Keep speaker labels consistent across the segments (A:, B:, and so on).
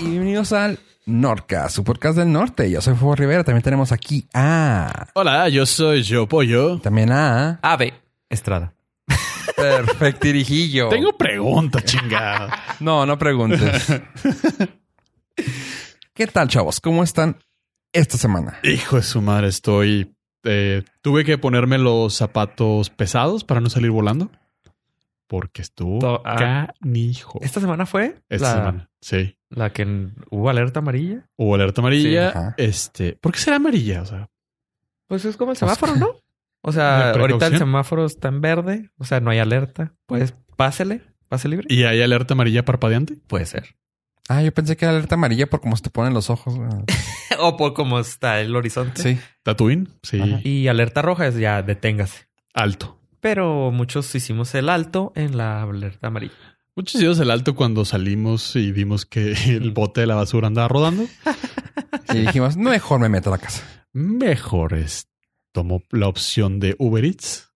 A: Bienvenidos al Norca, su podcast del norte. Yo soy Fuego Rivera. También tenemos aquí a.
B: Hola, yo soy Yo Pollo.
A: También a.
C: Ave Estrada.
A: Perfectirijillo.
B: Tengo pregunta, chingada.
A: No, no preguntes. ¿Qué tal, chavos? ¿Cómo están esta semana?
B: Hijo de su madre, estoy. eh, tuve que ponerme los zapatos pesados para no salir volando. Porque estuvo
C: To- ah.
B: canijo.
C: ¿Esta semana fue?
B: Esta
C: la,
B: semana. Sí.
C: La que n- hubo alerta amarilla.
B: Hubo alerta amarilla.
A: Sí, ajá.
B: este. ¿Por qué será amarilla? O sea,
C: Pues es como el semáforo, ¿no? O sea,
B: Una precaución.
C: ahorita el semáforo está en verde. O sea, no hay alerta. Pues pásele. Pase libre.
B: ¿y hay alerta amarilla parpadeante?
C: Puede ser.
A: Ah, yo pensé que era alerta amarilla por cómo se te ponen los ojos. güey.
C: o por cómo está el horizonte.
A: Sí.
B: Tatuín. Sí.
A: Ajá.
C: Y alerta roja es ya deténgase.
B: Alto.
C: Pero muchos hicimos el alto en la alerta amarilla.
B: Muchos hicimos el alto cuando salimos y vimos que el bote de la basura andaba rodando.
A: Y dijimos, no, mejor me meto a la casa.
B: Mejor es. Tomó la opción de Uber Eats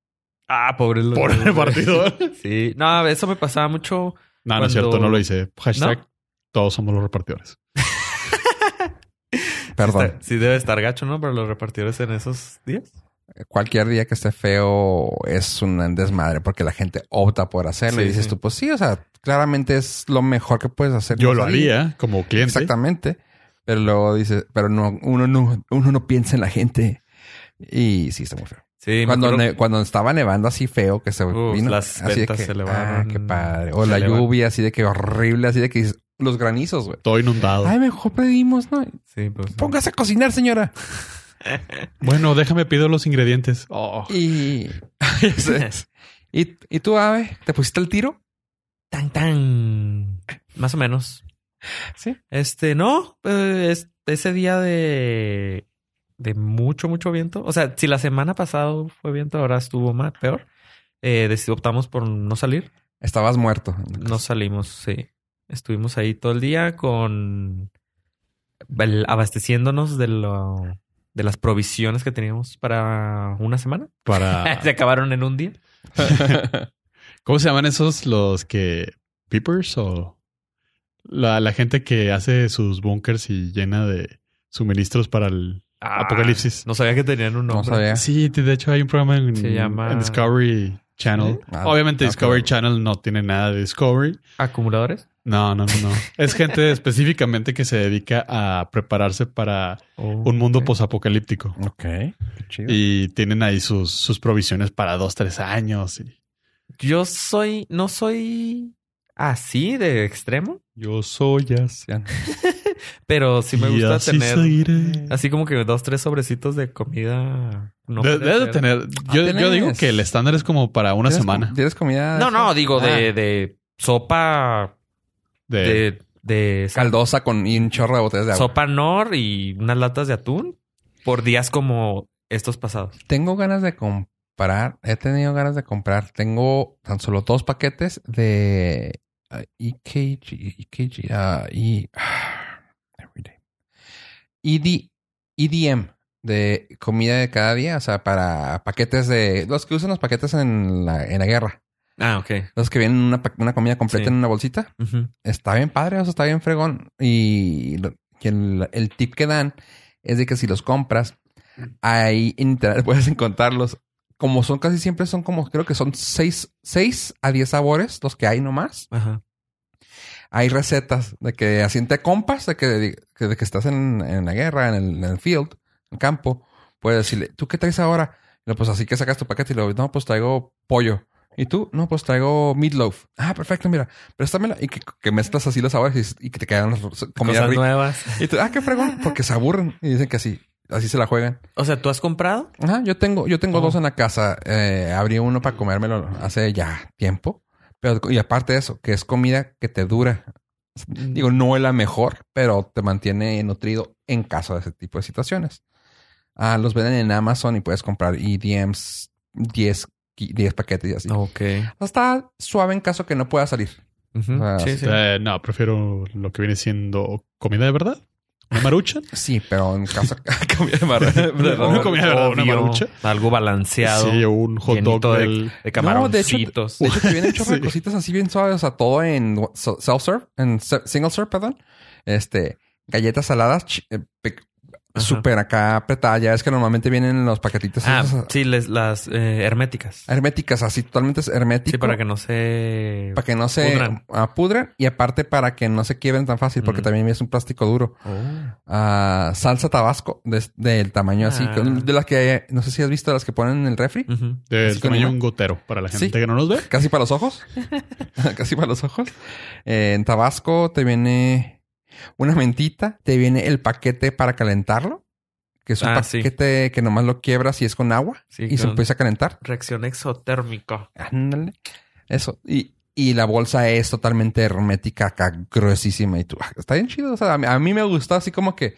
C: Ah, pobre. los-
B: por el partidor.
C: Sí. No, eso me pasaba mucho.
B: No, no es
C: Cuando-
B: cierto, no lo hice. Hashtag
C: ¿No?
B: todos somos los repartidores.
A: Perdón.
C: Está- sí debe estar gacho, ¿no? Para los repartidores en esos días.
A: Cualquier día que esté feo es un desmadre porque la gente opta por hacerlo.
C: Sí,
A: y dices
C: sí.
A: tú, pues sí, o sea, claramente es lo mejor que puedes hacer.
B: Yo
A: No
B: lo
A: salir.
C: ¿eh?
B: haría como cliente.
A: Exactamente. Pero luego dices, pero no, uno no, uno no piensa en la gente. Y sí, está muy feo.
C: Sí, me
A: Cuando,
C: acuerdo-
A: ne- cuando estaba nevando así feo que se
C: Uf,
A: vino.
C: las
A: así de
C: ventas
A: que,
C: se
A: ah,
C: elevaron.
A: qué padre. O
C: Se
A: la
C: elevaron.
A: lluvia así de que horrible, así de que dices, los granizos, güey.
B: Todo inundado.
A: Ay, mejor pedimos, ¿no?
C: Sí, pues.
A: Póngase a cocinar, señora.
B: Bueno, déjame pido los ingredientes. Oh,
A: Y, y, y tú, Ave, ¿te pusiste el tiro?
C: Tan, tan. Más o menos.
A: Sí.
C: Este, no, eh, es- ese día de, de mucho, mucho viento. O sea, si la semana pasada fue viento, ahora estuvo más, peor. Eh, deci- optamos por no salir.
A: Estabas muerto.
C: No salimos, sí. Estuvimos ahí todo el día con el- abasteciéndonos de lo de las provisiones que teníamos para una semana.
B: para.
C: Se acabaron en un día.
B: ¿Cómo se llaman esos los que. Peepers o. La, la gente que hace sus bunkers y llena de suministros para el.
C: Ah,
B: Apocalipsis.
C: No sabía que tenían un nombre.
A: No sabía.
B: Sí, de hecho hay un programa en,
C: Se llama-
B: en Discovery Channel.
C: ¿Sí?
A: Ah,
B: Obviamente
A: ah,
B: Discovery
A: claro.
B: Channel no tiene nada de Discovery.
C: ¿Acumuladores?
B: No, no, no, no. Es gente específicamente que se dedica a prepararse para un mundo
C: Ok.
B: posapocalíptico.
A: Ok. Qué chido.
B: Y tienen ahí sus, sus provisiones para dos, tres años. Y
C: Yo soy, no soy así de extremo,
B: yo soy así.
A: Ya no.
C: pero sí me
B: Y
C: gusta
B: así
C: tener
B: seguiré.
C: así como que dos, tres sobrecitos de comida. No,
B: De-
C: puede
B: debes de
C: ser.
B: tener. Yo,
A: Ah,
B: yo digo
A: tienes.
B: que el estándar es como para una
A: ¿Tienes
B: semana.
A: com- ¿Tienes comida?
C: No, no, digo
A: Ah,
C: de, de sopa
B: De,
C: de, de
A: Caldosa con y un chorro de botellas de agua.
C: sopa nor y unas latas de atún por días como estos pasados.
A: Tengo ganas de comprar. He tenido ganas de comprar. Tengo tan solo dos paquetes de ah, EKG. EKG. ah, y. ah, E everyday. ED, EDM. De comida de cada día. O sea, para paquetes de. Los que usan los paquetes en la, en la guerra.
C: Ah, ok.
A: Los que vienen una, pa- una comida completa
C: Sí.
A: en una bolsita
C: Ujú.
A: está bien padre, o sea, está bien fregón. Y lo- que el, el tip que dan es de que si los compras, ahí en internet puedes encontrarlos. Como son casi siempre, son como, creo que son 6, seis a 10 sabores los que hay nomás.
C: Ajá.
A: Hay recetas de que así te compas, de que, que- de que estás en, en la guerra, en el, en el field, en el campo. Puedes decirle, ¿tú qué traes ahora? Y lo, pues así que sacas tu paquete y lo, no, pues traigo pollo. ¿Y tú? No, pues traigo meatloaf. Ah, perfecto, mira, préstamela. Y que, que mezclas así los sabores y, y que te quedan las comidas
C: Cosas
A: ricas.
C: nuevas.
A: Y tú, ah, qué fregón, porque se aburren y dicen que así, así se la juegan.
C: O sea, ¿tú has comprado?
A: Ajá, yo tengo, yo tengo
C: Oh.
A: dos en la casa. Eh, abrí uno para comérmelo hace ya tiempo. Pero, y aparte de eso, que es comida que te dura. Digo, no es la mejor, pero te mantiene nutrido en caso de ese tipo de situaciones. Ah, los venden en Amazon y puedes comprar E EDMs 10, qui- 10 paquetes y así.
C: Ok.
A: Está suave en caso que no pueda salir.
C: Ujú.
A: Ah,
C: sí,
A: sí.
C: sí.
B: Eh, no, prefiero lo que viene siendo comida de verdad. Una marucha.
A: Sí, pero en caso comida de mar- de
B: Una
A: robo.
B: comida, ¿verdad? Una
C: Obvio,
B: marucha.
C: Algo balanceado.
B: Sí, un hot
C: llenito
B: dog
C: de-
B: del-
C: De
A: camaroncitos.
C: camaroncitos.
A: De hecho, te vienen chorro de
B: Sí.
A: cositas así bien suaves, o sea, todo en self-serve, en se- single-serve, perdón. Este, galletas saladas ch- eh, pe-
C: Ajá.
A: súper acá apretada. Ya es que normalmente vienen los paquetitos
C: Ah,
A: esos
C: sí, les, las eh, herméticas.
A: herméticas, así totalmente herméticas.
C: Sí, para que no se...
A: para que no se
C: Pudran.
A: ah, pudran y aparte para que no se quiebren tan fácil porque
C: Mm.
A: también es un plástico duro.
C: Oh.
A: Ah, salsa tabasco des- del tamaño así,
C: Ah. Mm.
A: con- de las que no sé si has visto las que ponen en el refri,
C: Ujú.
B: Del
A: Así con
B: tamaño de
A: una-
B: un gotero para la gente
A: Sí.
B: que no nos ve.
A: casi para los ojos, casi para los ojos. Eh, en tabasco te viene una mentita, te viene el paquete para calentarlo, que es un
C: Ah, sí.
A: paquete que nomás lo quiebras y es con agua
C: Sí,
A: y se
C: con
A: empieza a calentar.
C: Reacción exotérmica.
A: Ándale. Eso. Y, y la bolsa es totalmente hermética, acá gruesísima. Y tú, ah, está bien chido. O sea, a mí, a mí me gustó así como que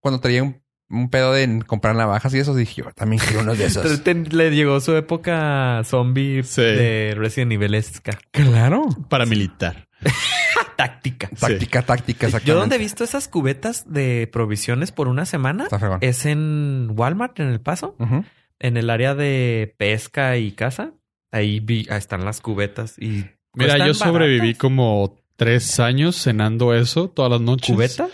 A: cuando traía un, un pedo de en comprar navajas y eso, dije yo también quiero uno de esos.
C: Te- te- le llegó su época zombie
B: Sí.
C: de Resident Evil esca.
A: claro.
B: Paramilitar.
C: Táctica.
A: Táctica, táctica,
C: Yo donde he
A: exactamente.
C: visto esas cubetas de provisiones por una semana
A: Está fregón.
C: es en Walmart, en El Paso,
A: Ujú.
C: en el área de pesca y caza. Ahí vi, ahí están las cubetas y...
B: Mira,
C: ¿cuestan
B: yo sobreviví
C: baratas?
B: como tres años cenando eso todas las noches.
C: ¿Cubetas?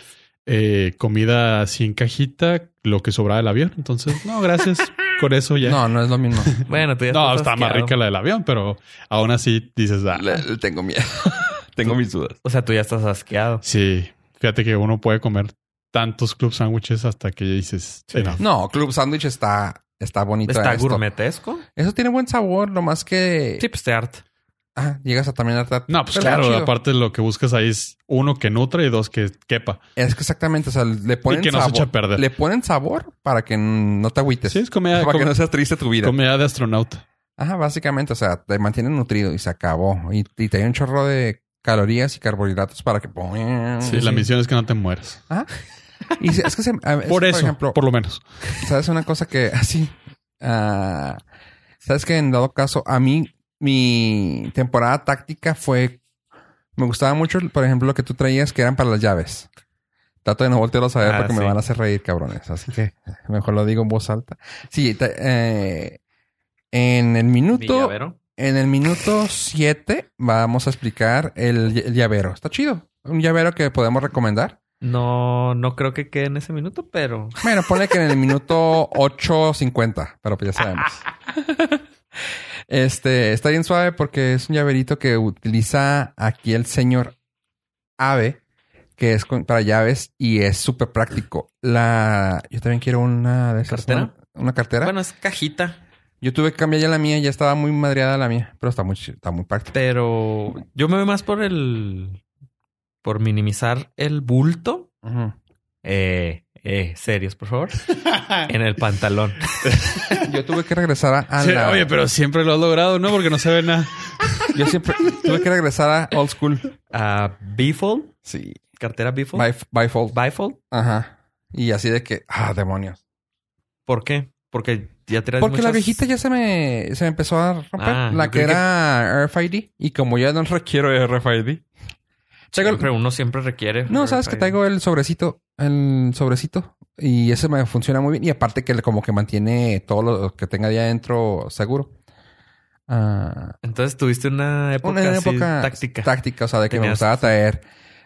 B: Eh, comida así en cajita, lo que sobraba del avión. Entonces, no, gracias. Con eso ya. No,
A: No, no es lo mismo.
C: Bueno, tú ya estás
B: está más
C: asqueado.
B: rica la del avión, pero aún así dices, ah,
A: Le- le tengo miedo. tengo mis dudas.
C: O sea, tú ya estás asqueado.
B: sí, fíjate que uno puede comer tantos club sándwiches hasta que ya dices, enough.
A: No, Club Sandwich está, está bonito.
C: ¿Está
A: esto.
C: gourmetesco?
A: Eso tiene buen sabor, nomás que
C: Sí, pues te harta.
A: ah, llegas a también a tratar.
B: No, pues
A: Pero
B: claro,
A: chido.
B: aparte lo que buscas ahí es uno que nutre y dos que quepa.
A: Es que exactamente, o sea, le ponen
B: que no se
A: sabor.
B: eche a perder.
A: Le ponen sabor para que n- no te agüites.
B: Sí, es comida,
A: para que
B: com-
A: no sea triste tu vida.
B: comida de astronauta.
A: Ajá, básicamente, o sea, te mantienen nutrido y se acabó. Y, y te hay un chorro de calorías y carbohidratos para que... Ah,
B: Sí, la misión es que no te mueras.
A: Y se- es que se- a veces,
B: Por eso,
A: Pues,
B: por,
A: ejemplo,
B: lo menos.
A: ¿sabes una cosa que así? ah, ¿Sabes que en dado caso, a mí, mi temporada táctica fue... Me gustaba mucho, por ejemplo, lo que tú traías que eran para las llaves. Trato de no voltearlos a ver
C: Ah,
A: porque me
C: sí.
A: van a hacer reír, cabrones. Así que mejor lo digo en voz alta. Sí, ta- eh, en el
C: Mi
A: minuto...
C: llavero.
A: En el minuto 7 vamos a explicar el, el llavero. Está chido. Un llavero que podemos recomendar.
C: No, no creo que quede en ese minuto, pero
A: Bueno, pone que en el minuto 8.50, pero pues ya sabemos. Este está bien suave porque es un llaverito que utiliza aquí el señor Ave, que es con- para llaves y es súper práctico. La, yo también quiero una de esas.
C: ¿Cartera?
A: ¿no? Una cartera.
C: bueno, es cajita.
A: Yo tuve que cambiar ya la mía, ya estaba muy madreada la mía, pero está muy, ch- está muy práctica.
C: Pero yo me voy más por el. por minimizar el bulto.
A: Ujú.
C: Eh, eh, serios, por favor. En el pantalón.
A: Yo tuve que regresar a, a
B: Sí,
A: la-
B: oye, pero siempre lo has logrado, ¿no? Porque no se ve nada.
A: Yo siempre tuve que regresar a old school.
C: A Ah, bifold,
A: Sí.
C: cartera bifold.
A: By, by fault.
C: Bifold.
A: Ajá. Y así de que, ah, demonios.
C: ¿Por qué? Porque ya traes
A: Porque la
C: muchas-
A: viejita ya se me, se me empezó a romper.
C: Ah,
A: la
C: yo
A: que
C: creí que-
A: era RFID. Y como ya no requiero RFID. Traigo el-
C: Pero uno siempre requiere.
A: no, sabes que traigo el sobrecito. El sobrecito. Y ese me funciona muy bien. Y aparte que le- como que mantiene todo lo que tenga ahí adentro seguro. Ah,
C: Entonces tuviste una época,
A: una
C: así
A: época
C: táctica.
A: táctica, o sea, de que me
C: Tenías-
A: gustaba traer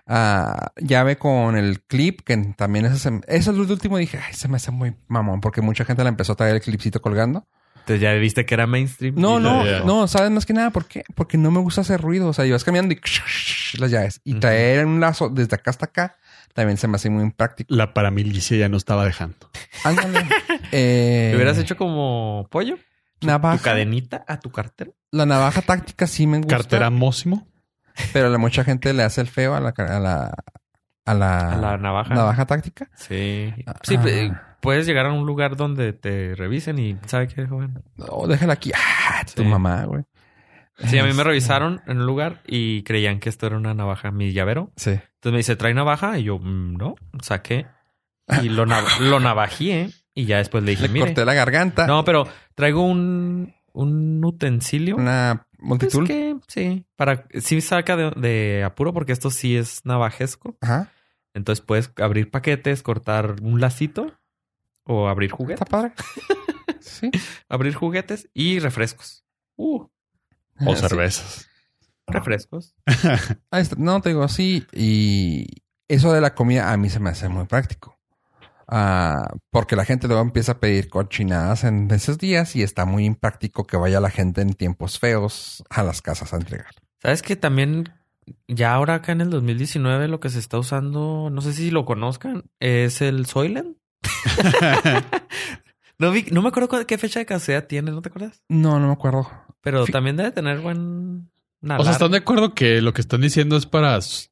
A: ah, llave con el clip, que también eso, se- eso es lo último dije, ay, se me hace muy mamón, porque mucha gente la empezó a traer el clipcito colgando.
C: Entonces ya viste que era mainstream.
A: No,
B: Y
C: Y
A: no,
B: la-
A: no, sabes más que nada por qué, porque no me gusta hacer ruido, o sea, ibas caminando y las llaves y traer un lazo desde acá hasta acá. También se me hace muy impráctico.
B: La paramilicia ya no estaba dejando.
A: Ándale. Eh,
C: ¿Te hubieras hecho como pollo? ¿Tu
A: navaja.
C: cadenita a tu cartera?
A: La navaja táctica sí me gusta.
B: Cartera Mósimo.
A: Pero la, mucha gente le hace el feo a la, a la, a la,
C: A la navaja.
A: Ah, navaja táctica.
C: Sí.
A: Ah.
C: Sí, pe- puedes llegar a un lugar donde te revisen y ¿sabe qué, joven?
A: No, déjala aquí. Ah, tu
C: Sí.
A: mamá, güey.
C: Sí, a mí
A: Este.
C: me revisaron en un lugar y creían que esto era una navaja, mi llavero.
A: Sí.
C: Entonces me dice, ¿trae navaja? Y yo, "Mm, no, saqué. Y lo, nav- lo navajeé y ya después le dije,
A: Le
C: mire.
A: corté la garganta.
C: No, pero traigo un, un utensilio.
A: Una
C: Pues
A: multitud.
C: que sí, para sí saca de, de apuro porque esto sí es navajesco.
A: Ajá.
C: Entonces puedes abrir paquetes, cortar un lacito o abrir juguetes.
A: Está padre. sí.
C: abrir juguetes y refrescos. Uh,
B: O
A: Sí.
B: cervezas.
C: refrescos.
A: Ahí está. No, te digo, sí. Y Eso de la comida a mí se me hace muy práctico. Ah, porque la gente luego empieza a pedir cochinadas en esos días y está muy impráctico que vaya la gente en tiempos feos a las casas a entregar.
C: Sabes que también ya ahora acá en el 2019 lo que se está usando, no sé si lo conozcan, es el Soylent. no, vi- no me acuerdo cu- qué fecha de caducidad tiene, ¿no te acuerdas?
A: No, no me acuerdo.
C: Pero
A: Fi-
C: también debe tener buen... una
B: O sea,
C: larga-
B: ¿están de acuerdo que lo que están diciendo es para s-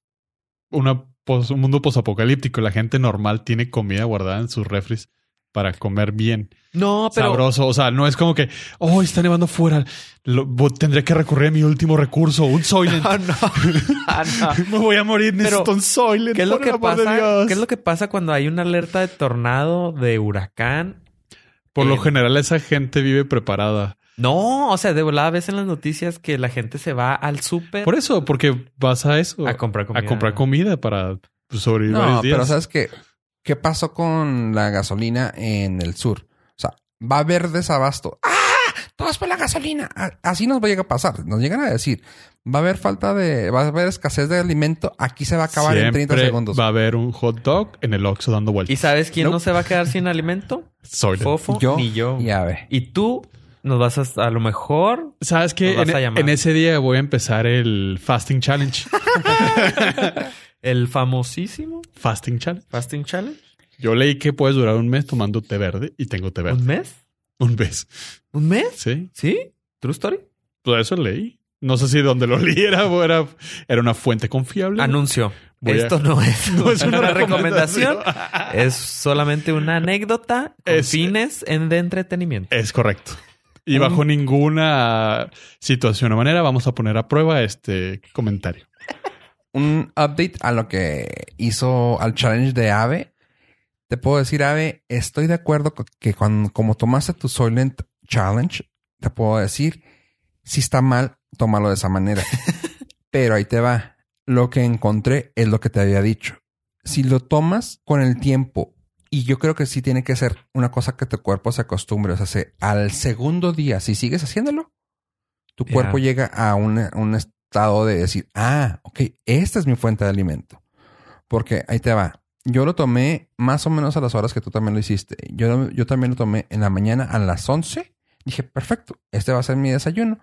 B: una pos- un mundo posapocalíptico? La gente normal tiene comida guardada en sus refres para comer bien,
C: No, pero...
B: sabroso. O sea, no es como que, oh, está nevando fuera. Lo- bo- tendré que recurrir a mi último recurso, un Soylent.
C: Ah, no. Ah, no.
B: Me voy a morir, necesito
C: Pero,
B: un Soylent.
C: ¿Qué es, lo
B: por
C: que
B: el amor de
C: pasa,
B: Dios.
C: ¿Qué es lo que pasa cuando hay una alerta de tornado, de huracán?
B: Por lo
C: Eh,
B: general, esa gente vive preparada.
C: No, o sea, de volada ves en las noticias que la gente se va al súper
B: Por eso, porque vas a eso,
C: a comprar comida.
B: a comprar comida para pues, sobrevivir
A: No,
B: varios días.
A: pero ¿sabes qué? ¿Qué pasó con la gasolina en el sur? O sea, va a haber desabasto. ¡Ah! Todos por la gasolina. A- Así nos va a llegar a pasar. Nos llegan a decir, va a haber falta de, va a haber escasez de alimento. Aquí se va a acabar en 30
B: Siempre
A: segundos.
B: Va a haber un hot dog en el Oxxo dando
C: ¿Y
B: vueltas.
C: sabes quién no
A: Nope.
C: se va a quedar sin alimento?
B: Soylent.
C: Fofo
A: Yo
C: ni yo.
A: Ya ve.
C: Y tú nos vas a, a lo mejor.
B: ¿Sabes qué?
C: Nos vas
B: En, e-,
C: a llamar.
B: en ese día voy a empezar el Fasting Challenge.
C: El famosísimo
B: fasting Challenge.
C: Fasting Challenge.
B: Yo leí que puedes durar un mes tomando té verde y tengo té verde.
C: ¿Un mes?
B: Un mes.
C: ¿Un mes?
B: Sí.
C: ¿Sí? ¿True story?
B: Todo eso leí. No sé si donde lo leí era, era, era una fuente confiable.
C: Anuncio.
B: Voy a-
C: Esto no es,
B: No es
C: una recomendación.
B: recomendación.
C: Es solamente una anécdota con
B: Es-
C: fines en- de entretenimiento.
B: Es correcto. Y
C: Un-
B: bajo ninguna situación o manera vamos a poner a prueba este comentario.
A: un update a lo que hizo al challenge de Ave. Te puedo decir, Ave, estoy de acuerdo co- que cuando como tomaste tu Soylent Challenge, te puedo decir, si está mal, tómalo de esa manera. Pero ahí te va. Lo que encontré es lo que te había dicho. Si lo tomas con el tiempo, y yo creo que sí tiene que ser una cosa que tu cuerpo se acostumbre, o sea, se- al segundo día, si sigues haciéndolo, tu
C: Ya.
A: cuerpo llega a una- un estado de decir, ah, ok, esta es mi fuente de alimento. Porque ahí te va. Yo lo tomé más o menos a las horas que tú también lo hiciste. Yo, yo también lo tomé en la mañana a las 11. Dije, perfecto, este va a ser mi desayuno.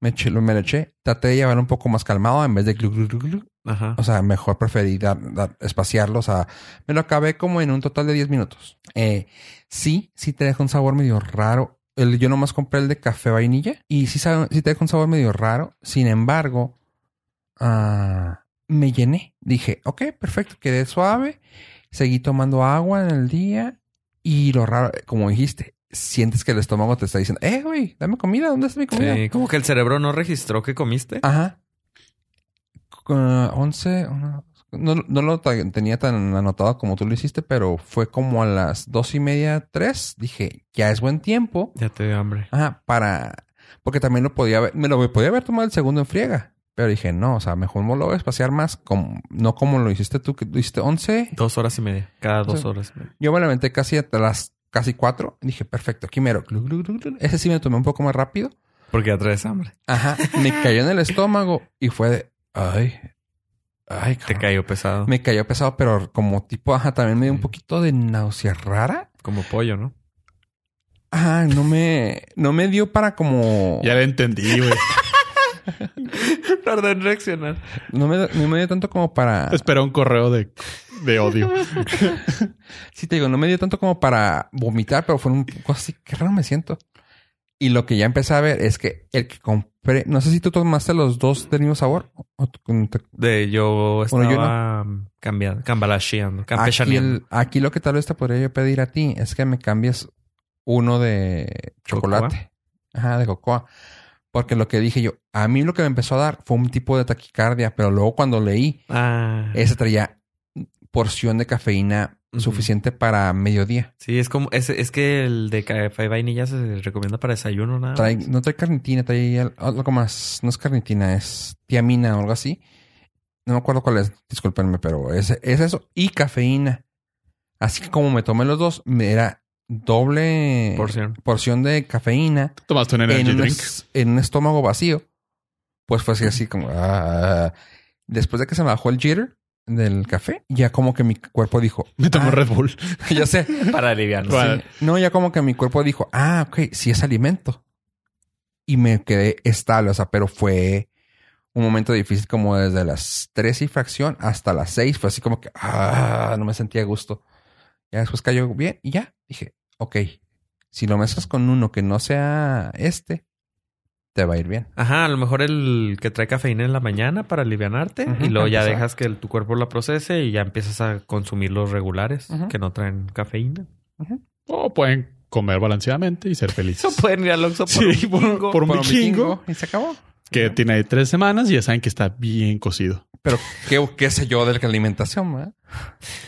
A: Me, eché- me lo eché. Traté de llevar un poco más calmado en vez de glu, glu, glu, glu.
C: Ajá.
A: O sea, mejor preferí dar- dar- espaciarlo. O sea, me lo acabé como en un total de 10 minutos. Eh, sí, sí te deja un sabor medio raro. El- yo nomás compré el de café vainilla y sí, sabe- sí te deja un sabor medio raro. Sin embargo, ah, me llené. Dije, ok, perfecto, quedé suave. Seguí tomando agua en el día y lo raro, como dijiste, sientes que el estómago te está diciendo, eh, güey, dame comida, ¿dónde está mi comida?
C: Sí, Ah. como que el cerebro no registró que comiste.
A: Ajá. Con, ah, 11, una- no, no lo ta- tenía tan anotado como tú lo hiciste, pero fue como a las dos y media, tres. Dije, ya es buen tiempo.
C: Ya te dio hambre.
A: Ajá, para. Porque también lo podía haber, me lo podía haber tomado el segundo en friega. Pero dije, no, o sea, mejor me lo voy a espaciar más, como, no como lo hiciste tú, que lo hiciste 11.
C: Dos horas y media. Cada dos
A: Sí.
C: horas y media.
A: Yo me levanté casi a las casi cuatro. Dije, perfecto, aquí mero. Glu, glu, glu, glu. Ese sí me lo tomé un poco más rápido.
C: Porque ya traes hambre.
A: Ajá, me cayó en el estómago y fue de, ay, ay,
C: Te
A: cabrón.
C: cayó pesado.
A: Me cayó pesado, pero como tipo, ajá, también me dio un
C: Sí.
A: poquito de náusea rara.
C: Como pollo, ¿no?
A: Ajá, no me, no me dio para como,
B: Ya lo entendí, güey.
C: Tardé en reaccionar.
A: no me, no me dio tanto como para,
C: Pues
B: Espera un correo de, de odio.
A: sí te digo, no me dio tanto como para vomitar, pero fue un poco así, qué raro me siento. Y lo que ya empecé a ver es que el que compré, no sé si tú tomaste los dos del mismo sabor. o tú- te-
C: De yo estaba
A: Bueno, yo no.
C: mm, cambiando, cambalacheando,
A: Aquí,
C: campechaneando.
A: el- aquí lo que tal vez te podría yo pedir a ti es que me cambies uno de chocolate. Ajá, de cocoa. Porque lo que dije yo, a mí lo que me empezó a dar fue un tipo de taquicardia, pero luego cuando leí,
C: Ah,
A: ese traía porción de cafeína
C: Ujú.
A: suficiente para mediodía.
C: sí, es como, es, es que el de café y vainilla se recomienda para desayuno, nada.
A: Trae-
C: más.
A: no trae carnitina, trae al- algo más. No es carnitina, es tiamina o algo así. No me acuerdo cuál es, discúlpenme, pero es, es eso. Y cafeína. Así que como me tomé los dos, me era doble
C: Porción.
A: porción de cafeína
B: Tomaste un energy
A: en un,
B: drink.
A: es- en un ah, estómago vacío. Pues fue así, así como... ah. Después de que se me bajó el jitter, del café, ya como que mi cuerpo dijo,
B: Me tomo Red Bull.
A: ya sé,
C: Para aliviarnos.
B: Bueno.
A: no, ya como que mi cuerpo dijo, ah, ok, sí es alimento. Y me quedé estable, o sea, pero fue un momento difícil como desde las 3 y fracción hasta las 6. Fue así como que, ah, no me sentía a gusto. Ya después cayó bien y ya dije, ok, si lo mezclas con uno que no sea este, te va a ir bien.
C: Ajá, a lo mejor el que trae cafeína en la mañana para alivianarte
A: Ujú,
C: y luego ya
A: empezar.
C: dejas que el- tu cuerpo la procese y ya empiezas a consumir los regulares
A: Ujú.
C: que no traen cafeína.
B: O pueden comer balanceadamente y ser
C: Eso
B: felices.
C: pueden ir al Oxxo por
B: Sí,
C: un bingo.
B: por un
A: Pero
B: vikingo
A: Y se acabó.
B: que tiene ahí tres semanas y ya saben que está bien cocido.
A: Pero qué, qué sé yo de la alimentación, ¿verdad?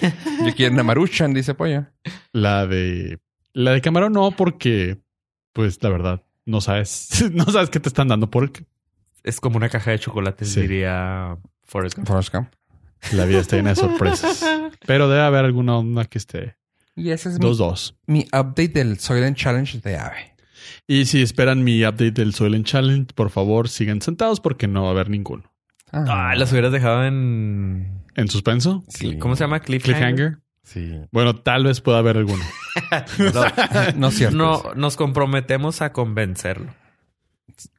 A: Yo quiero una maruchan, dice Pollo.
B: La de la de camarón no, porque pues la verdad no sabes, no sabes qué te están dando por el-
C: Es como una caja de chocolates,
B: Sí.
C: diría Forrest Gump.
A: Forrest Gump.
B: la vida está llena de sorpresas. Pero debe haber alguna onda que esté
A: Y ese es mi
B: dos dos.
A: mi update del Soylent Challenge de AVE.
B: Y si esperan mi update del Soylent Challenge, por favor sigan sentados porque no va a haber ninguno.
C: Ah, las hubieras dejado en...
B: En suspenso,
A: Sí.
C: ¿Cómo se llama? Cliffhanger.
B: cliffhanger. Bueno, tal vez pueda haber alguno.
A: No es cierto.
C: No, nos comprometemos a convencerlo.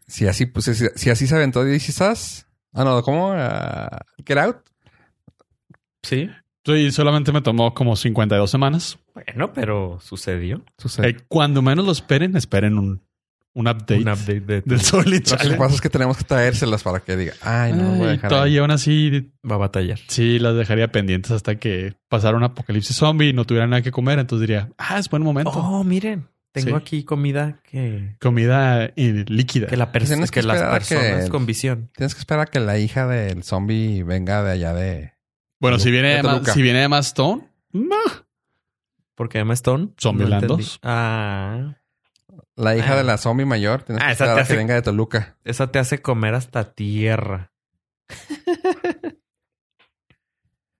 A: Si así, pues, si, si así se aventó DC Sass. Ah, no, ¿cómo? Ah, get out.
C: Sí.
B: Sí, solamente me tomó como 52 semanas.
C: Bueno, pero sucedió.
A: Sucede.
B: Eh, cuando menos lo esperen, esperen un, un update,
C: Un update de tu-
B: del Soylent
A: Lo que
B: Challenge.
A: pasa es que tenemos que traérselas para que diga, ay, no, voy a
B: Ay,
A: dejar. ahí".
B: todavía aún así,
C: Va a batallar.
B: sí, las dejaría pendientes hasta que pasara un apocalipsis zombie y no tuviera nada que comer. Entonces diría, ah, es buen momento.
C: Oh, miren. Tengo
B: Sí.
C: aquí comida que,
B: Comida eh, líquida.
C: que, la pers-
A: Pues tienes que
C: que las
A: esperar a que-
C: personas con visión.
A: Tienes que esperar a que la hija del zombie venga de allá de.
B: bueno, si viene,
A: de
B: de Ma-
A: Toluca.
B: si viene de Mass Stone, mah,
C: Porque Emma Stone...
B: Zombieland
C: entendí.
B: 2.
C: Ah.
A: La hija
C: Ah.
A: de la zombie mayor. Tienes
C: Ah,
A: que
C: esa
A: esperar
C: te
A: a que
C: hace-
A: venga de Toluca.
C: Esa te hace comer hasta tierra.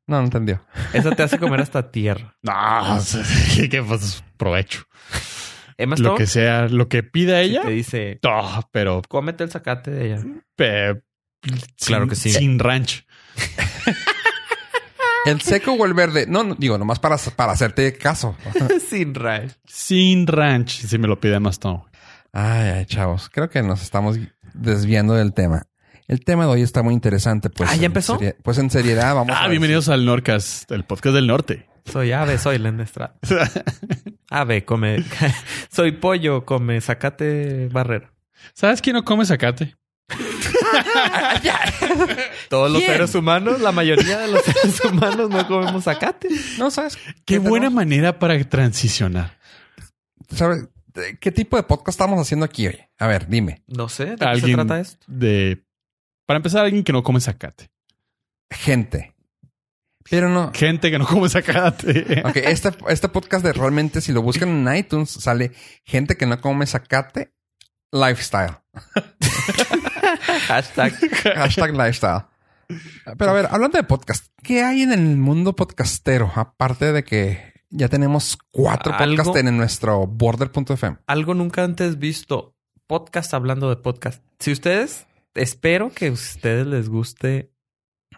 A: No, no entendió.
C: Esa te hace comer hasta tierra.
B: no, que pues provecho.
C: Emma
B: Lo que
C: Stone
B: sea, lo que pida
C: sí
B: ella,
C: te dice...
B: no, pero
C: Cómete el sacate de ella.
B: pe-
C: Claro
B: sin-
C: que sí.
B: sin ranch.
A: ¿El seco o el verde? No, no, digo, nomás para, para hacerte caso.
C: Sin raíz.
B: Sin ranch, si me lo pide Emma Stone.
A: Ay, ay, chavos, creo que nos estamos desviando del tema. El tema de hoy está muy interesante, pues.
C: Ah, ¿ya
A: en
C: empezó?
A: serie- pues en seriedad, vamos a
B: Ah,
A: ver
B: bienvenidos al Norcas, el podcast del norte.
C: Soy ave, soy Len Estrada. Ave, come. soy pollo, come. Sacate barrera.
B: ¿Sabes quién no come zacate?
C: Todos los
A: ¿Quién?
C: seres humanos, la mayoría de los seres humanos no comemos zacate.
A: si- No, ¿sabes?
B: Qué
A: tenemos?
B: buena manera para transicionar.
A: ¿Sabes? ¿De ¿Qué tipo de podcast estamos haciendo aquí hoy? A ver, dime.
C: No sé, ¿de qué se
B: Alguien
C: trata esto?
B: de para empezar alguien que no come zacate.
A: Gente. Pero no.
B: Gente que no come zacate.
A: Ok, este, este podcast de realmente, si lo buscan en iTunes, sale gente que no come zacate, lifestyle.
C: Hashtag.
A: Hashtag lifestyle. Pero a ver, hablando de podcast, ¿qué hay en el mundo podcastero? Aparte de que ya tenemos cuatro
C: ¿Algo?
A: podcasts en nuestro border.fm.
C: Algo nunca antes visto. Podcast hablando de podcast. Si ustedes, espero que a ustedes les guste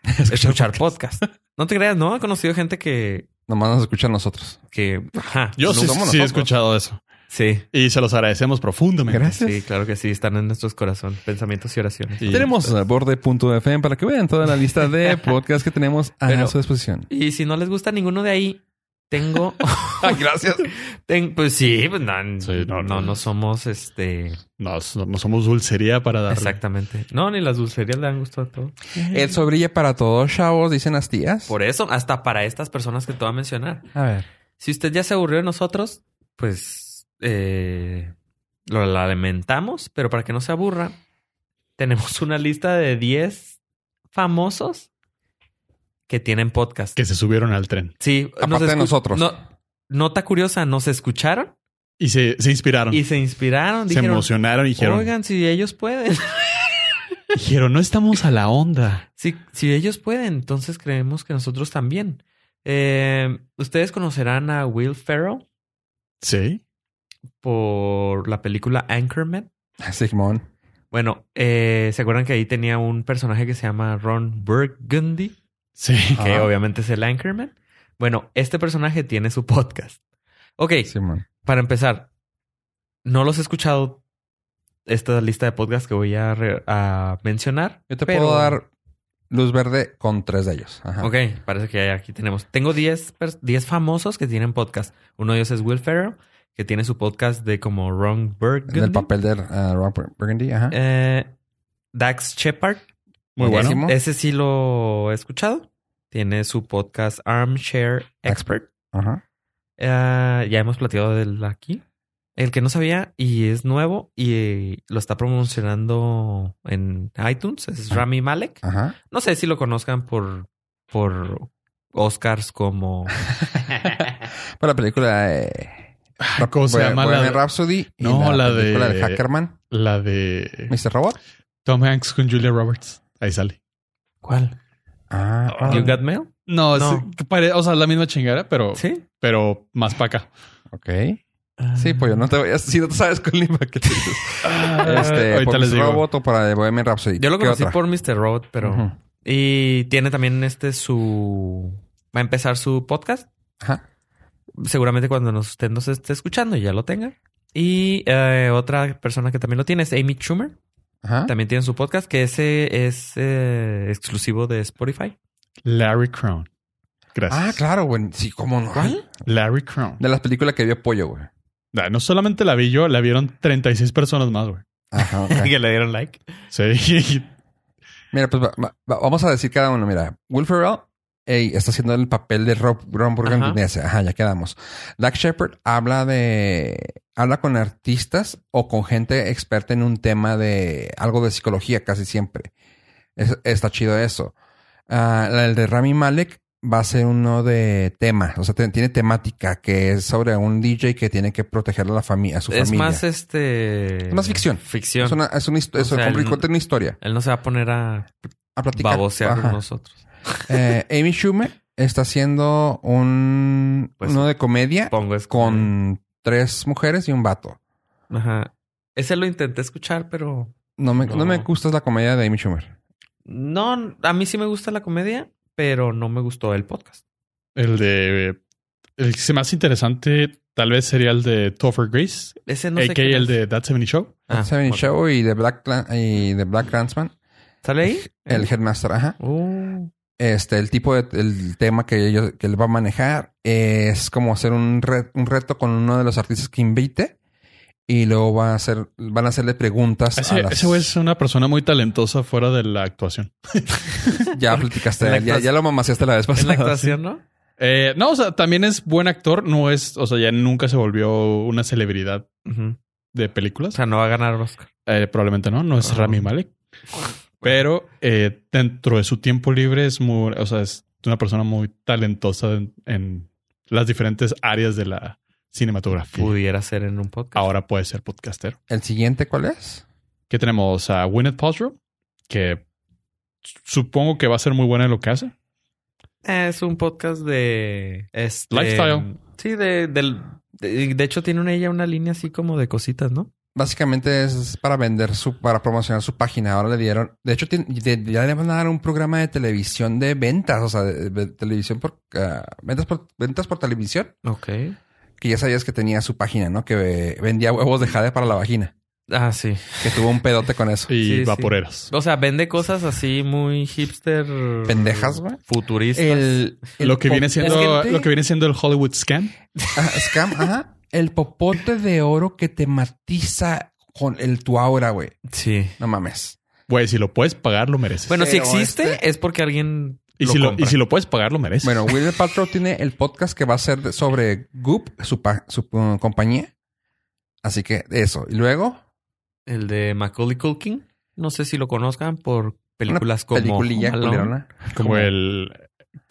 C: escuchar podcast. No te creas, no he conocido gente que,
A: Nomás nos escuchan nosotros.
C: que, ajá.
B: Yo
A: Lo
B: sí,
A: somos
B: sí he
A: nosotros.
B: escuchado eso
C: Sí.
B: y se los agradecemos profundamente.
A: Gracias.
C: Sí, claro que sí, están en nuestros corazones, pensamientos y oraciones.
B: Y-
A: Tenemos eh, border.fm para que vean toda la lista de podcasts que tenemos a
C: Pero-
A: su disposición.
C: Y si no les gusta ninguno de ahí, tengo.
A: Ah, gracias.
C: ten- pues sí, pues no,
B: Sí,
C: no,
B: no,
C: no,
B: no.
C: somos este.
B: No, no somos dulcería para dar.
C: Exactamente. No, ni las dulcerías le han gustado a todos.
A: El sobrilla para todos, chavos, dicen las tías.
C: Por eso, hasta para estas personas que te voy a mencionar.
A: A ver.
C: Si usted ya se aburrió de nosotros, pues eh, lo lamentamos, pero para que no se aburra, tenemos una lista de 10 famosos que tienen podcast.
B: Que se subieron al tren
C: Sí, nos
A: Aparte de
C: escu-
A: nosotros.
C: no- nota curiosa, nos escucharon
B: y se, se inspiraron,
C: y se inspiraron.
B: Ah. se
C: Dijeron,
B: emocionaron y dijeron,
C: oigan, si ellos pueden,
B: dijeron, no estamos a la onda.
C: si, si ellos pueden, entonces creemos que nosotros también. Eh, Ustedes conocerán a Will Ferrell
B: Sí.
C: por la película Anchorman.
A: Sigmón.
C: Bueno, eh, ¿se acuerdan que ahí tenía un personaje que se llama Ron Burgundy?
B: Sí.
C: que
A: Ajá.
C: obviamente es el Anchorman. Bueno, este personaje tiene su podcast. Ok,
A: Simón.
C: para empezar, no los he escuchado esta lista de podcasts que voy a, re- a mencionar.
A: Yo te
C: pero-
A: puedo dar luz verde con tres de ellos. Ajá.
C: Ok, parece que aquí tenemos. Tengo 10 pers- 10 famosos que tienen podcast. Uno de ellos es Will Ferrell, que tiene su podcast de como Ron
A: En el
C: Burgundy.
A: papel de ah, Ron Burgundy. Ajá.
C: Eh, Dax Shepard.
B: Muy
A: Buenísimo.
B: bueno.
C: Ese sí lo he escuchado. Tiene su podcast Armchair Expert.
A: Ajá.
C: Ah, ya hemos platicado del aquí. El que no sabía y es nuevo y eh, lo está promocionando en iTunes
A: Ah.
C: es Rami Malek.
A: Ajá.
C: No sé si lo conozcan por, por Oscars como...
A: Para la película de. Rap-
B: ¿Cómo se
A: Bohe-
B: llama la
A: Bohemian
B: de-
A: Rhapsody. y
B: No, la de-
A: película de Hackerman.
B: La de
A: Mr. Robot.
B: Tom Hanks con Julia Roberts. Ahí sale.
C: ¿Cuál?
A: Ah, ah,
C: You Got Mail.
B: No, es-
C: No.
B: que pare- o sea, la misma chingada, pero,
C: Sí.
B: pero más para acá.
A: ok. Sí, pues yo no te voy a. Si no te sabes con Lima que te dices.
B: Eh,
A: Este,
B: ahorita
A: por
B: les
A: Mr.
B: digo.
A: Robot o para Bohemian Rhapsody.
C: Yo lo
A: Ah. ¿Qué
C: conocí
A: otra?
C: por Mr. Robot, pero...
A: Ujú.
C: Y tiene también este su... Va a empezar su podcast.
A: Ajá.
C: seguramente cuando nos, usted nos esté escuchando ya lo tenga. Y eh, otra persona que también lo tiene es Amy Schumer.
A: Ajá.
C: También tiene su podcast, que ese es eh, exclusivo de Spotify.
B: Larry Crown. Gracias.
A: Ah, claro, güey. Sí, cómo no.
B: Larry Crown.
A: De las películas que vio Pollo, güey.
B: Ah, No solamente la vi yo, la vieron 36 personas más, güey.
A: Ajá. ok.
C: que le dieron like.
B: Sí.
A: Mira, pues va- va- va- vamos a decir cada uno. Mira, Will Ferrell ey, está haciendo el papel de Rob Ron Burgundy. Ajá. ya quedamos. Doug Shepard habla de... Habla con artistas o con gente experta en un tema de... Algo de psicología casi siempre. Es- está chido eso. Ah, la- el de Rami Malek va a ser uno de temas. O sea, te- tiene temática que es sobre un DJ que tiene que proteger a, la familia, a su
C: es
A: familia.
C: más este...
A: Es más ficción.
C: Ficción.
A: Es una, es una, histo-
C: O
A: es
C: sea,
A: compli-
C: el-
A: cuenta una historia.
C: Él no se va a poner a
A: A platicar.
C: babosear
A: Ajá.
C: con nosotros.
A: Eh, Amy Schumer está haciendo un
C: Pues,
A: uno de comedia
C: Pongo es
A: con tres mujeres y un vato.
C: Ajá. Ese lo intenté escuchar, pero...
A: No me, no.
C: No.
A: me gusta la comedia de Amy Schumer.
C: No, a mí sí me gusta la comedia, pero no me gustó el podcast.
B: El de. El que se me hace interesante, tal vez sería el de Topher Grace,
C: Ese no sé
B: a.k.a.
C: quién
B: el
C: es.
B: de That 70 Show.
C: Ah,
A: Seven
C: bueno.
A: Show y The Black Clan- y The Black Clansman.
C: ¿Sale ahí?
A: El Headmaster, ajá.
C: Uh.
A: Este, el tipo de el tema que ellos, que él va a manejar es como hacer un, re- un reto con uno de los artistas que invite y luego va a hacer, van a hacerle preguntas a
B: Ese,
A: las-
B: ese güey es una persona muy talentosa fuera de la actuación.
A: ya platicaste,
C: En la
A: de él, ya, ya lo mamaciaste la vez
C: En la
A: pasada.
C: actuación, ¿no?
B: Eh, no, o sea, también es buen actor. No es, o sea, ya nunca se volvió una celebridad
C: Ujú.
B: de
C: O
B: películas.
C: sea, no va a ganar un Oscar.
B: Eh, probablemente no, no es
C: Ajá.
B: Rami Malek. Pero eh, dentro de su tiempo libre es muy, o sea, es una persona muy talentosa en, en las diferentes áreas de la cinematografía.
C: Pudiera ser en un podcast.
B: Ahora puede ser podcastero.
A: ¿El siguiente cuál es?
B: Que tenemos a Gwyneth Paltrow, que supongo que va a ser muy buena en lo que hace.
C: Ah, Es un podcast de... este,
B: Lifestyle.
C: Sí, de, del- de, de hecho tiene una- ella una línea así como de cositas, ¿no?
A: Básicamente es para vender su, para promocionar su página. Ahora le dieron, de hecho, tien- de- ya le van a dar un programa de televisión de ventas, o sea, de, de televisión por, ah, ventas por, ventas por televisión,
C: Ok.
A: que ya sabías que tenía su página, ¿no? Que eh, vendía huevos de jade para la vagina,
C: Ah, sí.
A: que tuvo un pedote con eso.
B: Y
C: Sí, sí.
B: vaporeras.
C: O sea, vende cosas así muy hipster...
A: Pendejas, güey.
C: Futuristas.
A: El, el
B: Lo que, viene
A: popote-
B: siendo,
A: Es gente-
B: lo que viene siendo el Hollywood Scam.
A: Ajá, Ah, scam, ajá. El popote de oro que te matiza con el tu aura, güey.
C: Sí.
A: No mames.
B: Güey, si lo puedes pagar, lo mereces.
C: Bueno, si
A: Pero
C: existe
A: este-
C: es porque alguien
B: y,
C: lo
B: si lo,
C: compra.
B: y si lo puedes pagar, lo mereces.
A: Bueno, Will Paltrow tiene el podcast que va a ser de- sobre Goop, su, pa- su uh, compañía. Así que eso. Y luego,
C: El de Macaulay Culkin. No sé si lo conozcan por películas como...
A: peliculilla
C: Home Alone.
A: culerona.
B: Como el,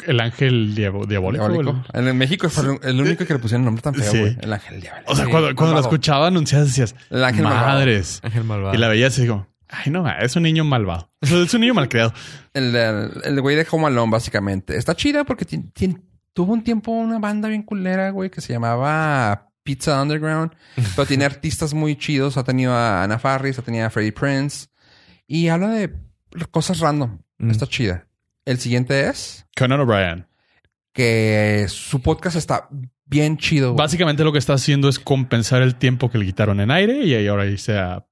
B: el ángel diabo- diabólico.
A: Diabólico.
B: el-
A: El, en México fue el- el único que le pusieron nombre tan feo,
B: Sí.
A: güey. El ángel diabólico.
B: O sea,
C: Sí,
B: cuando, cuando la
A: malvado.
B: escuchaba anunciada decías,
A: El ángel malvado.
B: madres.
C: Ángel Malvado.
B: Y la veías y digo, ay, no, es un niño malvado. O sea, Es un niño malcriado.
A: El, el, el güey de Home Alone, básicamente. Está chida porque ti- ti- tuvo un tiempo una banda bien culera, güey, que se llamaba Pizza Underground. Pero tiene artistas muy chidos. Ha tenido a Ana Farris, ha tenido a Freddie Prince. Y habla de cosas random.
C: Mm.
A: Está chida. El siguiente es
B: Conan O'Brien.
A: que su podcast está bien chido. güey.
B: Básicamente lo que está haciendo es compensar el tiempo que le quitaron en aire y ahí ahora irse a,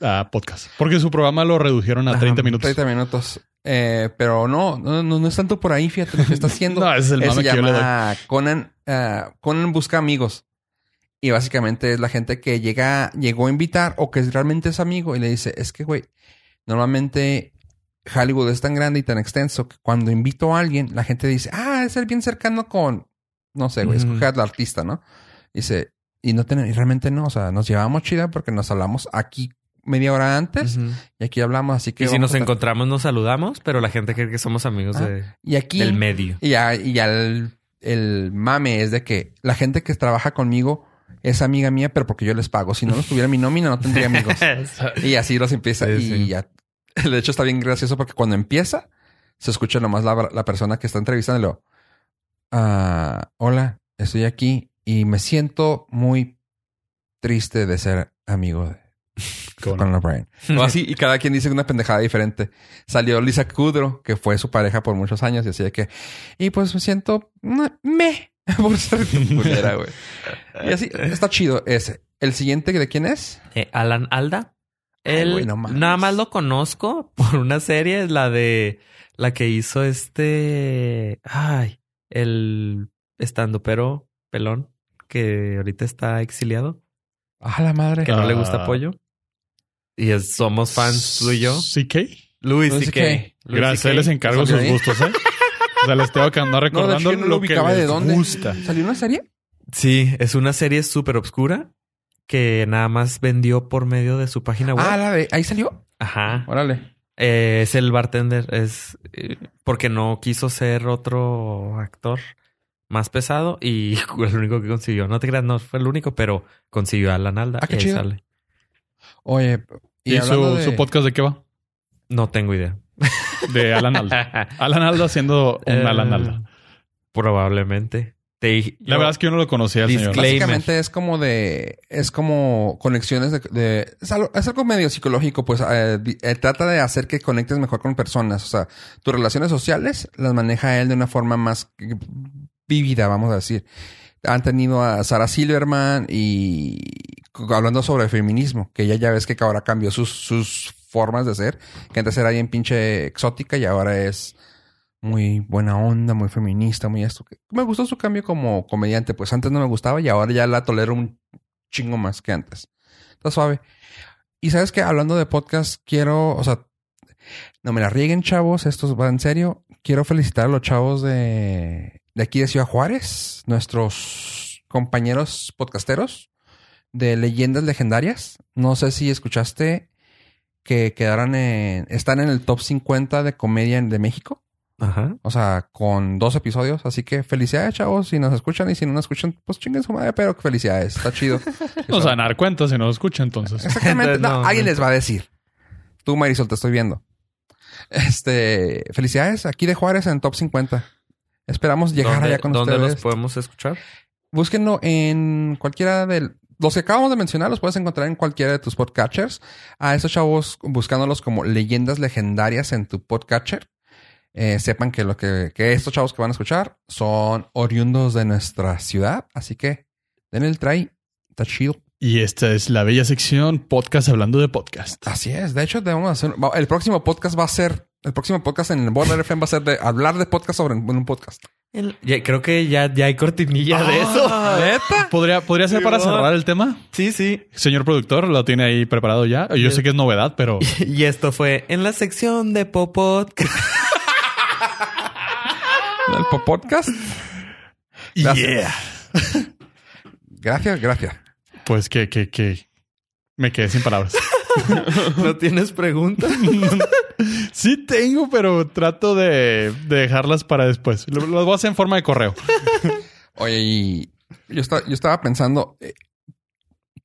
B: a podcast. Porque su programa lo redujeron a
A: Ajá,
B: 30 minutos.
A: 30 minutos. Eh, pero no, no, no, no es tanto por ahí, fíjate lo que está haciendo.
B: No, ese es el
A: Eh,
B: mame
A: se
B: que yo le doy.
A: llama Conan, ah, Conan busca amigos. Y básicamente es la gente que llega, llegó a invitar o que es- realmente es amigo y le dice, es que güey, normalmente Hollywood es tan grande y tan extenso que cuando invito a alguien, la gente dice, ah, es el bien cercano con, no sé, güey,
C: Ujú.
A: escoger al artista, ¿no? Dice, y no ten- y realmente no, o sea, nos llevamos chida porque nos hablamos aquí media hora antes
C: Ujú.
A: y aquí hablamos, así que...
C: Y si
A: vamos
C: nos
A: a tra-
C: encontramos, nos saludamos, pero la gente cree que somos amigos
A: Ah,
C: de-
A: y aquí
C: del medio.
A: Y ya, y ya el, el mame es de que la gente que trabaja conmigo es amiga mía, pero porque yo les pago. Si no los tuviera en mi nómina, no tendría amigos. Y así los empieza.
C: Sí,
A: y
C: sí.
A: ya. De hecho, está bien gracioso porque cuando empieza, se escucha nomás la, la persona que está entrevistando. y luego, "Ah, hola, estoy aquí y me siento muy triste de ser amigo de
B: Conan.
A: Conan O'Brien. O así, y cada quien dice una pendejada diferente. Salió Lisa Kudrow, que fue su pareja por muchos años, y así de que, y pues me siento mm, me por ser tu culera, güey. Y así, está chido ese. ¿El siguiente de quién es?
C: Eh, Alan Alda.
A: Ay,
C: Él
A: güey, no mames.
C: nada más lo conozco por una serie, la de la que hizo este. Ay, el estando pero pelón que ahorita está exiliado,
A: A la madre.
C: que no le
B: Ah.
C: gusta pollo. Y es- somos fans tú y yo.
B: CK.
C: Luis
A: Luis
C: y
A: CK.
B: Gracias, ahí les encargo
A: ¿Salió
B: sus
A: ahí?
B: gustos, ¿eh? O sea, les tengo que andar
A: hecho,
B: recordando
A: yo no lo
B: lo que
A: ubicaba
B: les
A: de dónde.
B: gusta.
A: ¿Salió una serie?
C: Sí, es una serie súper obscura que nada más vendió por medio de su página web.
A: Ah, la de. Ahí salió.
C: Ajá.
A: Órale.
C: Eh, es el bartender, es eh, porque no quiso ser otro actor más pesado y el único que consiguió, no te creas, no fue el único, pero consiguió a Alan Alda.
A: Ah, qué
C: y ahí
A: chido.
C: sale.
A: Oye,
B: ¿Y,
A: y, hablando
B: su,
A: de-
B: su podcast de qué va?
C: No tengo idea.
B: De Alan Alda. Alan Alda haciendo un
C: Eh,
B: Alan Alda.
C: Probablemente. Te dije-
B: La verdad es que yo no lo conocía, al señor.
C: Disclaimer.
A: Básicamente es como de. Es como conexiones de. de- es, algo, es algo medio psicológico, pues eh, di- eh, trata de hacer que conectes mejor con personas. O sea, tus relaciones sociales las maneja él de una forma más eh, vívida, vamos a decir. Han tenido a Sarah Silverman y c- hablando sobre feminismo, que ella ya ves que ahora cambió sus, sus formas de ser, que antes era bien pinche exótica y ahora es muy buena onda, muy feminista, muy esto. Me gustó su cambio como comediante, pues antes no me gustaba y ahora ya la tolero un chingo más que antes. Está suave. Y sabes que hablando de podcast, quiero, o sea, no me la rieguen, chavos, esto va en serio. Quiero felicitar a los chavos de, de aquí de Ciudad Juárez, nuestros compañeros podcasteros de leyendas legendarias. No sé si escuchaste que quedaron en, están en el top 50 de comedia en- de México.
C: Ajá.
A: O sea, con dos episodios. Así que felicidades, chavos. Si nos escuchan y si no nos escuchan, pues chinguen su madre, pero felicidades. Está chido.
B: No se van a dar cuenta si no lo escucha, entonces.
A: Exactamente.
C: No,
A: No, alguien
C: no.
A: les va a decir. Tú, Marisol, te estoy viendo. Este, felicidades. Aquí de Juárez en top 50. Esperamos llegar
C: ¿Dónde,
A: allá con
C: dónde
A: ustedes.
C: los podemos escuchar?
A: Búsquenlo en cualquiera de los que acabamos de mencionar, los puedes encontrar en cualquiera de tus podcatchers. A esos chavos, buscándolos como leyendas legendarias en tu podcatcher, eh, sepan que, lo que, que estos chavos que van a escuchar son oriundos de nuestra ciudad. Así que den el try. Está chido.
B: Y esta es la bella sección podcast hablando de podcast.
A: Así es. De hecho, debemos hacer. va- El próximo podcast va a ser. El próximo podcast en el Border FM va a ser de hablar de podcast sobre un, un podcast.
C: Ya- creo que ya, ya hay cortinilla de eso.
A: ¿Neta?
B: ¿Podría, podría ser para cerrar el tema?
C: Sí, sí.
B: Señor productor, lo tiene ahí preparado ya. Yo sé que es novedad, pero
C: Y esto fue en la sección de Popot.
A: El po- podcast.
B: yeah.
A: Gracias, gracias.
B: Pues que, que, que me quedé sin palabras.
C: ¿No tienes preguntas?
B: Sí tengo, pero trato de, de dejarlas para después. Lo- Las voy a hacer en forma de correo.
A: Oye, y yo, esta- yo estaba pensando, eh,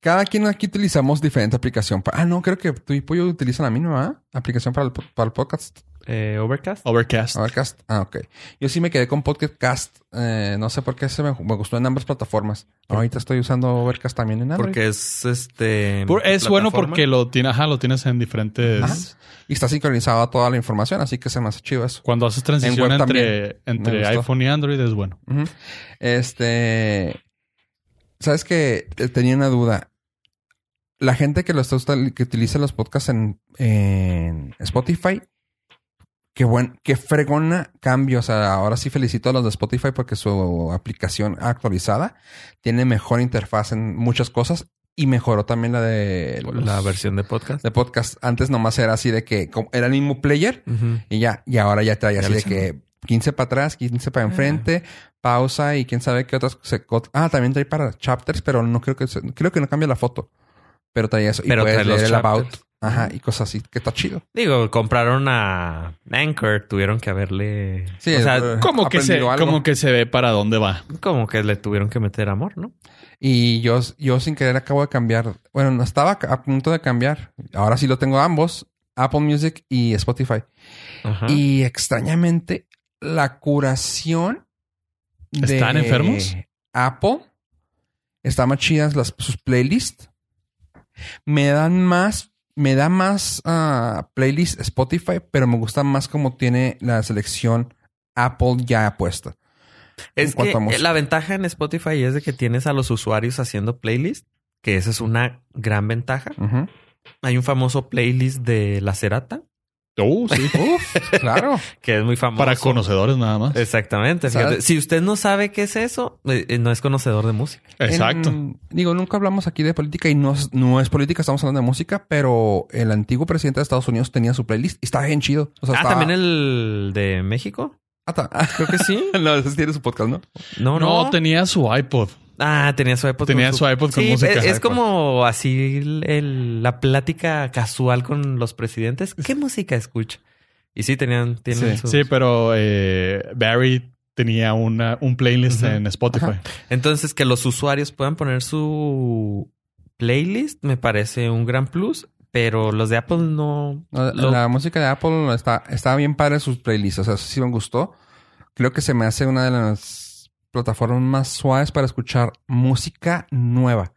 A: cada quien aquí utilizamos diferente aplicación. pa- ah, no, creo que tú y Pollo utilizan la misma ¿verdad? aplicación para el, po- para el podcast.
C: eh, Overcast.
B: Overcast.
A: Overcast. Ah, ok. Yo sí me quedé con Podcast. Eh, no sé por qué se me, me gustó en ambas plataformas. Ahorita estoy usando Overcast también en Android.
C: Porque es este.
B: Por- es bueno
C: plataforma.
B: porque lo, tiene, ajá, lo tienes en diferentes...
A: Ajá. Y está sincronizada toda la información, así que se me hace chido eso.
B: Cuando haces
A: En
B: transición
A: web
B: entre,
A: Me
B: entre
A: gustó.
B: iPhone y Android es bueno.
A: Ujú. Este. ¿Sabes que Tenía una duda. La gente que lo está usted- que utiliza los podcasts en, en Spotify, qué buen, qué fregona cambio. O sea, ahora sí felicito a los de Spotify porque su aplicación actualizada tiene mejor interfaz en muchas cosas y mejoró también la de los-
C: La versión de podcast.
A: de podcast. Antes nomás era así de que como era el mismo player
C: Ujú.
A: y ya, y ahora ya trae
C: Ya
A: así
C: le
A: de
C: hicieron.
A: que 15 para atrás, 15 para
C: Ah.
A: enfrente, pausa y quién sabe qué otras se- co- Ah, también trae para chapters, pero no creo que se- creo que no cambia la foto. Pero trae eso. Y
C: Pero
A: puedes
C: trae los
A: leer el about.
C: chapters.
A: Ajá, y cosas así, que está chido.
C: Digo, compraron a Anchor, tuvieron que haberle.
A: Sí,
C: o sea,
A: eh,
B: Como que, se,
A: Aprendido algo.
B: como que se ve para dónde va.
C: como que le tuvieron que meter amor, ¿no?
A: Y yo, yo sin querer acabo de cambiar. Bueno, no estaba a punto de cambiar. Ahora sí lo tengo ambos. Apple Music y Spotify.
C: Ajá.
A: Y extrañamente, la curación. de
B: ¿Están enfermos?
A: Apple. Está más chidas las, sus playlists. Me dan más. Me da más ah, playlist Spotify, pero me gusta más como tiene la selección Apple ya puesta. en
C: Es que eh,
A: cuanto a música.
C: la ventaja en Spotify es de que tienes a los usuarios haciendo playlist, que esa es una gran ventaja.
A: Ujú.
C: Hay un famoso playlist de La Cerata,
B: Oh, sí.
A: Claro.
C: que es muy famoso.
B: para conocedores nada más.
C: Exactamente. fíjate.
A: ¿Sabes?
C: Si usted no sabe qué es eso, eh, eh, no es conocedor de música.
B: Exacto.
A: En- digo, nunca hablamos aquí de política y no, es- no es política, estamos hablando de música, pero el antiguo presidente de Estados Unidos tenía su playlist y está bien chido. O sea,
C: ah,
A: estaba-
C: también el de México.
A: Ah, ta- ah,
C: Creo que sí.
A: no, ese tiene su podcast, ¿no?
C: No,
B: no,
C: no.
B: tenía su iPod.
C: Ah, tenía su iPod.
B: Tenía
C: con
B: su iPod con
C: Sí,
B: música.
C: Es, es
A: iPod.
C: como así el- el- la plática casual con los presidentes. ¿Qué música escucha? Y sí, tenían, tienen
A: Sí.
C: su-
B: Sí, pero eh, Barry tenía una, un playlist
C: Ujú.
B: en Spotify.
C: Entonces, que los usuarios puedan poner su playlist me parece un gran plus, pero los de Apple no.
A: No,
C: Lo-
A: La música de Apple está, está bien padre sus playlists. O sea, eso sí me gustó. Creo que se me hace una de las plataformas más suaves para escuchar música nueva.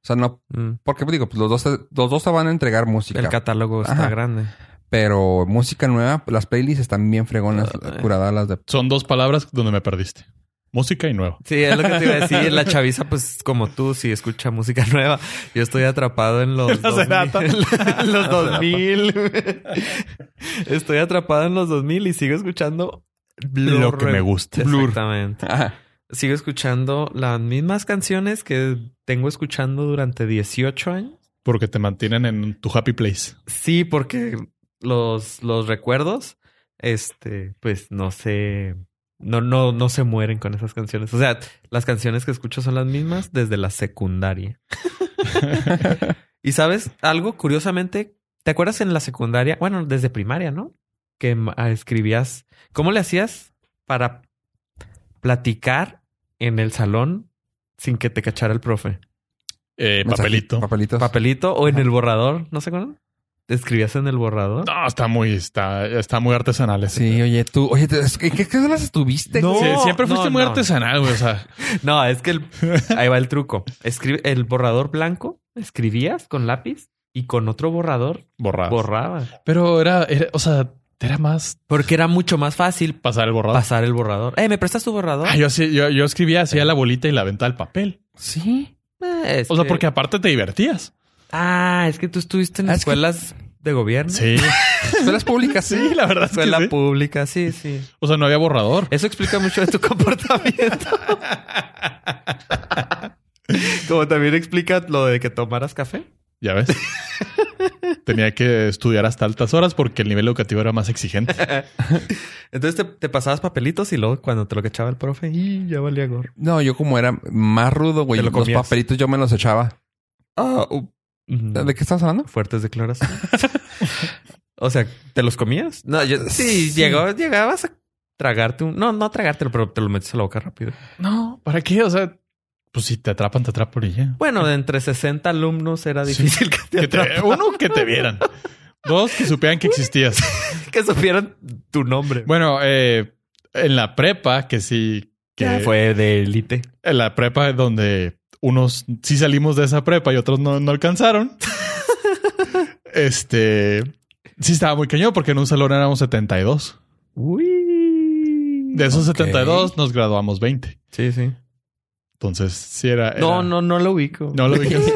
A: O sea, no,
C: Mm,
A: porque digo, pues los dos te, los dos te van a entregar música.
C: el catálogo está
A: Ajá.
C: grande.
A: pero música nueva, las playlists están bien fregonas,
C: Ah,
A: curadas las de
B: Son dos palabras donde me perdiste. Música y nuevo.
C: Sí, es lo que te iba a decir. La chaviza, pues como tú, si escucha música nueva, yo estoy atrapado en los.
B: La
C: 2000.
B: Cerata.
C: en los 2000. estoy atrapado en los 2000 y sigo escuchando Blur.
B: Lo que me gusta.
C: Exactamente. Sigo escuchando las mismas canciones que tengo escuchando durante 18 años.
B: Porque te mantienen en tu happy place.
C: Sí, porque los, los recuerdos, este, pues no se. No, no, no se mueren con esas canciones. O sea, las canciones que escucho son las mismas desde la secundaria. y sabes, algo curiosamente, ¿te acuerdas en la secundaria? Bueno, desde primaria, ¿no? Que ma- ah, escribías. ¿Cómo le hacías para platicar en el salón sin que te cachara el profe?
B: Eh, papelito.
A: papelitos.
C: ¿Papelito o en
A: Ajá.
C: el borrador? ¿No se acuerdan? ¿Escribías en el borrador?
B: No, está muy, está, está muy artesanal ese.
A: Sí, oye, tú, oye, te- es que- ¿en qué escuelas estuviste?
C: No.
A: güey?
B: Sí, siempre fuiste
C: no,
B: muy
C: no.
B: artesanal, güey. O sea,
C: No, es que el- ahí va el truco. Escribe el borrador blanco, escribías con lápiz y con otro borrador
B: borrado.
C: borrabas.
B: Pero era, era- o sea, era más
C: Porque era mucho más fácil
B: pasar el borrado.
C: pasar el borrador. Eh, ¿me prestas tu borrador?
B: Ah, yo, sí- yo, yo escribía, hacía la bolita y la venta del papel.
A: Sí.
C: Eh, es
B: O sea,
C: que-
B: porque aparte te divertías.
C: Ah, es que tú estuviste en
A: Ah, es que-
C: escuelas de gobierno.
B: Sí,
A: Escuelas públicas,
B: sí,
A: sí.
B: la verdad es que
C: Escuela
B: sí.
C: pública, sí, sí.
B: O sea, no había borrador.
C: Eso explica mucho de tu comportamiento. Como también explica lo de que tomaras café.
B: Ya ves. Tenía que estudiar hasta altas horas porque el nivel educativo era más exigente.
C: Entonces te, te pasabas papelitos y luego cuando te lo cachaba el profe, y ya valía gorro.
A: No, yo como era más rudo, güey.
C: Te lo
A: Los
C: comías.
A: papelitos yo me los echaba.
C: Ah,
A: ¿De qué estás hablando?
C: Fuertes declaraciones. o sea, ¿te los comías? No, yo sí,
A: Sí.
C: llegó- llegabas a tragarte un. No, no tragártelo, pero te lo metes a la boca rápido.
B: No, ¿para qué? O sea, pues si te atrapan, te atrapan y ya.
C: Bueno, de entre 60 alumnos era
B: Sí.
C: difícil que te
B: Que te-
C: atraparan.
B: uno, que te vieran. Dos, que supieran que existías.
C: que supieron tu nombre.
B: Bueno, eh, en la prepa, que sí. Que
C: fue de élite.
B: En la prepa donde unos sí salimos de esa prepa y otros no, no alcanzaron. este. Sí estaba muy cañón porque en un salón éramos 72.
C: Uy.
B: De esos
A: Ok.
B: 72 nos graduamos 20.
C: Sí, sí.
B: Entonces, sí era... era-
C: No, no, no lo ubico.
B: No lo dije así.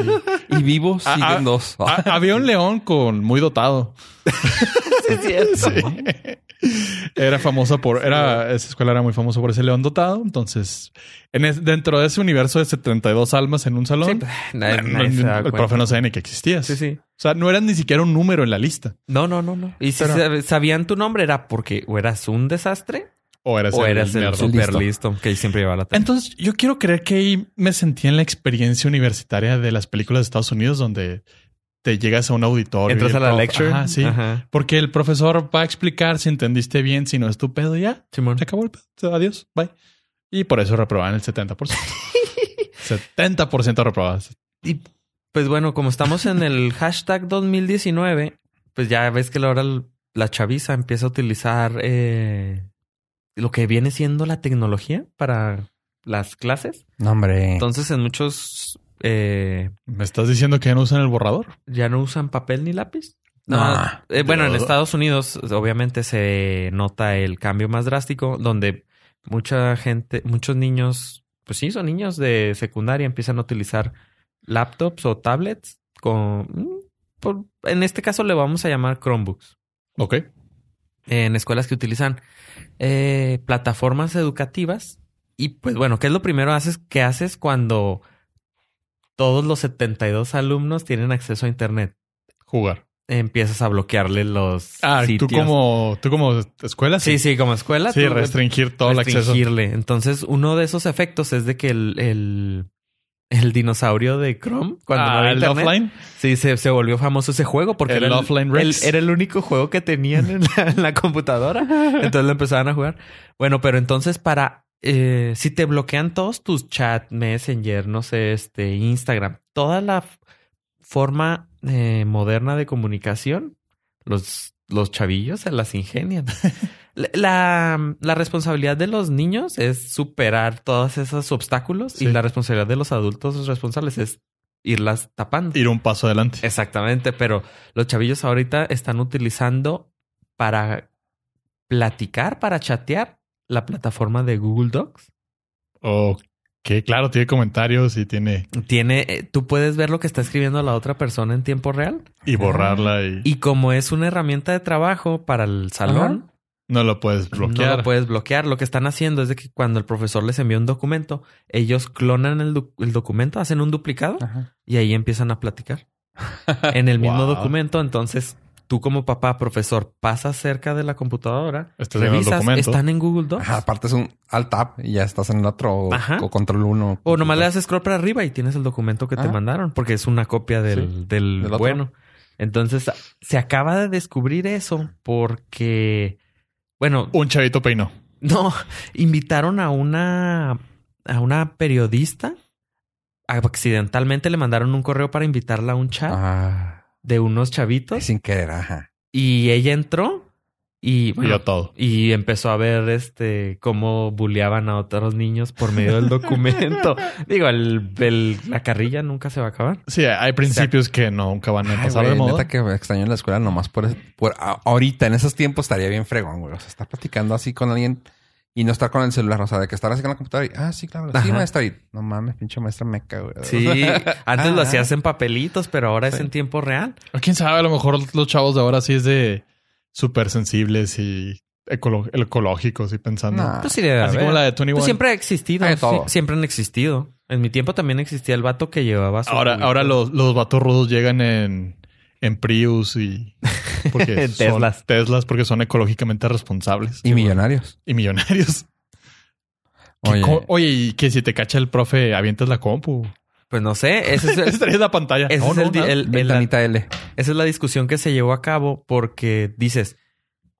A: Y vivos
B: Ah,
A: siguen
B: ah,
A: dos.
B: Ha- Había un león con muy dotado.
C: Sí, es cierto.
B: Sí. Era famosa por... Era, esa escuela era muy famosa por ese león dotado. Entonces, en es- dentro de ese universo de 72 almas en un
C: Sí,
B: salón,
C: nadie-
B: no-
C: nadie se da
B: el
C: cuenta.
B: profe no sabía ni que existías.
C: Sí, sí.
B: O sea, no eras ni siquiera un número en la lista.
C: No, no, no, no. Y si
A: Pero-
C: sab- sabían tu nombre era porque o eras un desastre
B: O eras,
C: o
B: el
C: eras el
B: nerdo.
A: sí.
C: super
A: Listo.
C: listo que siempre llevaba la tele.
B: Entonces, yo quiero creer que ahí me sentí en la experiencia universitaria de las películas de Estados Unidos donde te llegas a un auditorio.
C: Entras
B: y
C: a
B: el
C: la
B: prof-
C: lecture.
B: Ajá, sí.
C: Ajá.
B: Porque el profesor va a explicar si entendiste bien, si no es tu pedo, ya.
C: Simón.
B: Se acabó el pedo. Adiós. Bye. Y por eso reprobaban el 70%. 70% reprobadas.
C: Y pues bueno, como estamos en el hashtag 2019, pues ya ves que ahora l- la chaviza empieza a utilizar eh, lo que viene siendo la tecnología para las clases.
A: No, hombre.
C: Entonces en muchos eh,
B: ¿Me estás diciendo que ya no usan el borrador?
C: ya no usan papel ni lápiz.
A: No.
C: Nada. Eh, bueno, en
B: Yo-
C: Estados Unidos obviamente se nota el cambio más drástico donde mucha gente, muchos niños, pues sí, son niños de secundaria, empiezan a utilizar laptops o tablets con... mm, por- en este caso le vamos a llamar Chromebooks.
B: Ok.
C: En escuelas que utilizan eh, plataformas educativas. Y pues bueno, ¿qué es lo primero haces, que haces cuando todos los 72 alumnos tienen acceso a Internet?
B: Jugar.
C: empiezas a bloquearle los
B: Ah,
C: sitios.
B: tú como, tú como escuela.
C: Sí, sí, como escuela.
B: Sí,
C: tú-
B: restringir todo el acceso.
C: restringirle. Entonces, uno de esos efectos es de que el, el, el dinosaurio de Chrome, cuando no
B: Ah,
C: había
B: el
C: internet,
B: offline.
C: sí, se, se volvió famoso ese juego porque
B: El
C: era,
B: Offline
C: el,
B: Rex.
C: era el único juego que tenían en la, en la computadora. Entonces lo empezaban a jugar. Bueno, pero entonces para... eh, si te bloquean todos tus chat, Messenger, no sé, este, Instagram, toda la f- forma eh, moderna de comunicación, los, los chavillos se las ingenian. La- La, la responsabilidad de los niños es superar todos esos obstáculos y
B: Sí.
C: la responsabilidad de los adultos responsables es irlas tapando.
B: Ir un paso adelante.
C: Exactamente, pero los chavillos ahorita están utilizando para platicar, para chatear, la plataforma de Google Docs.
B: O que claro, tiene comentarios y tiene...
C: Tiene, eh, tú puedes ver lo que está escribiendo la otra persona en tiempo real.
B: Y borrarla y,
C: Y como es una herramienta de trabajo para el salón,
B: no lo puedes bloquear.
C: no lo puedes bloquear. Lo que están haciendo es de que cuando el profesor les envía un documento, ellos clonan el, doc- el documento, hacen un duplicado
A: Ajá.
C: y ahí empiezan a platicar. en el mismo
B: Wow.
C: documento, entonces tú como papá, profesor, pasas cerca de la computadora,
B: Estás viendo el
C: revisas,
B: documento.
C: están en Google Docs.
A: Ajá, aparte es un alt tab y ya estás en el otro o-
C: Ajá.
A: o control uno.
C: O nomás le das scroll para arriba y tienes el documento que te
A: Ajá.
C: mandaron, porque es una copia del, del
A: Del otro.
C: bueno. Entonces, se acaba de descubrir eso porque, bueno,
B: Un chavito peinó.
C: No, invitaron a una a una periodista. Accidentalmente le mandaron un correo para invitarla a un chat
A: Ah,
C: de unos chavitos
A: sin querer, ajá.
C: y ella entró y
B: y
C: bueno,
B: yo todo.
C: y empezó a ver este cómo bulleaban a otros niños por medio del documento. Digo, el, el- la carrilla nunca se va a acabar.
B: Sí, hay principios que nunca van a
A: Ay,
B: pasar de
A: güey,
B: moda.
A: neta que me extraño en la escuela nomás por, es- por a- ahorita, en esos tiempos estaría bien fregón, güey. O sea, estar platicando así con alguien y no estar con el celular. O sea, de que estar así con la computadora y, ah, sí, claro. Sí,
C: Ajá.
A: maestra. Y, no mames, pinche maestra meca, güey.
C: Sí, antes lo
A: Ah.
C: hacías en papelitos, pero ahora es
A: Sí.
C: en tiempo real.
B: O quién sabe, a lo mejor los chavos de ahora sí es de súper sensibles y ecolo- ecológicos y pensando.
A: Nah.
C: Pues sí, debe
B: Ah, Así como
C: haber.
B: la de Ah, Tony
C: Pues siempre ha existido.
A: Hay de todo.
C: sí, siempre han existido. En mi tiempo también existía el vato que llevaba su
B: Ahora,
C: juguito.
B: ahora los, los vatos rudos llegan en, en Prius y porque
C: En
B: son-
C: Teslas.
B: Teslas porque son ecológicamente responsables
A: Y millonarios.
B: y millonarios. Que
A: Oye,
B: co- Oye, y que si te cacha el profe, avientas la compu.
C: Pues no sé. Ese es el-
B: Estaría en la pantalla.
C: ese
B: No,
C: es
B: no,
C: el di-
B: nada.
C: el- el-
A: ventanita L.
C: esa es la discusión que se llevó a cabo porque dices,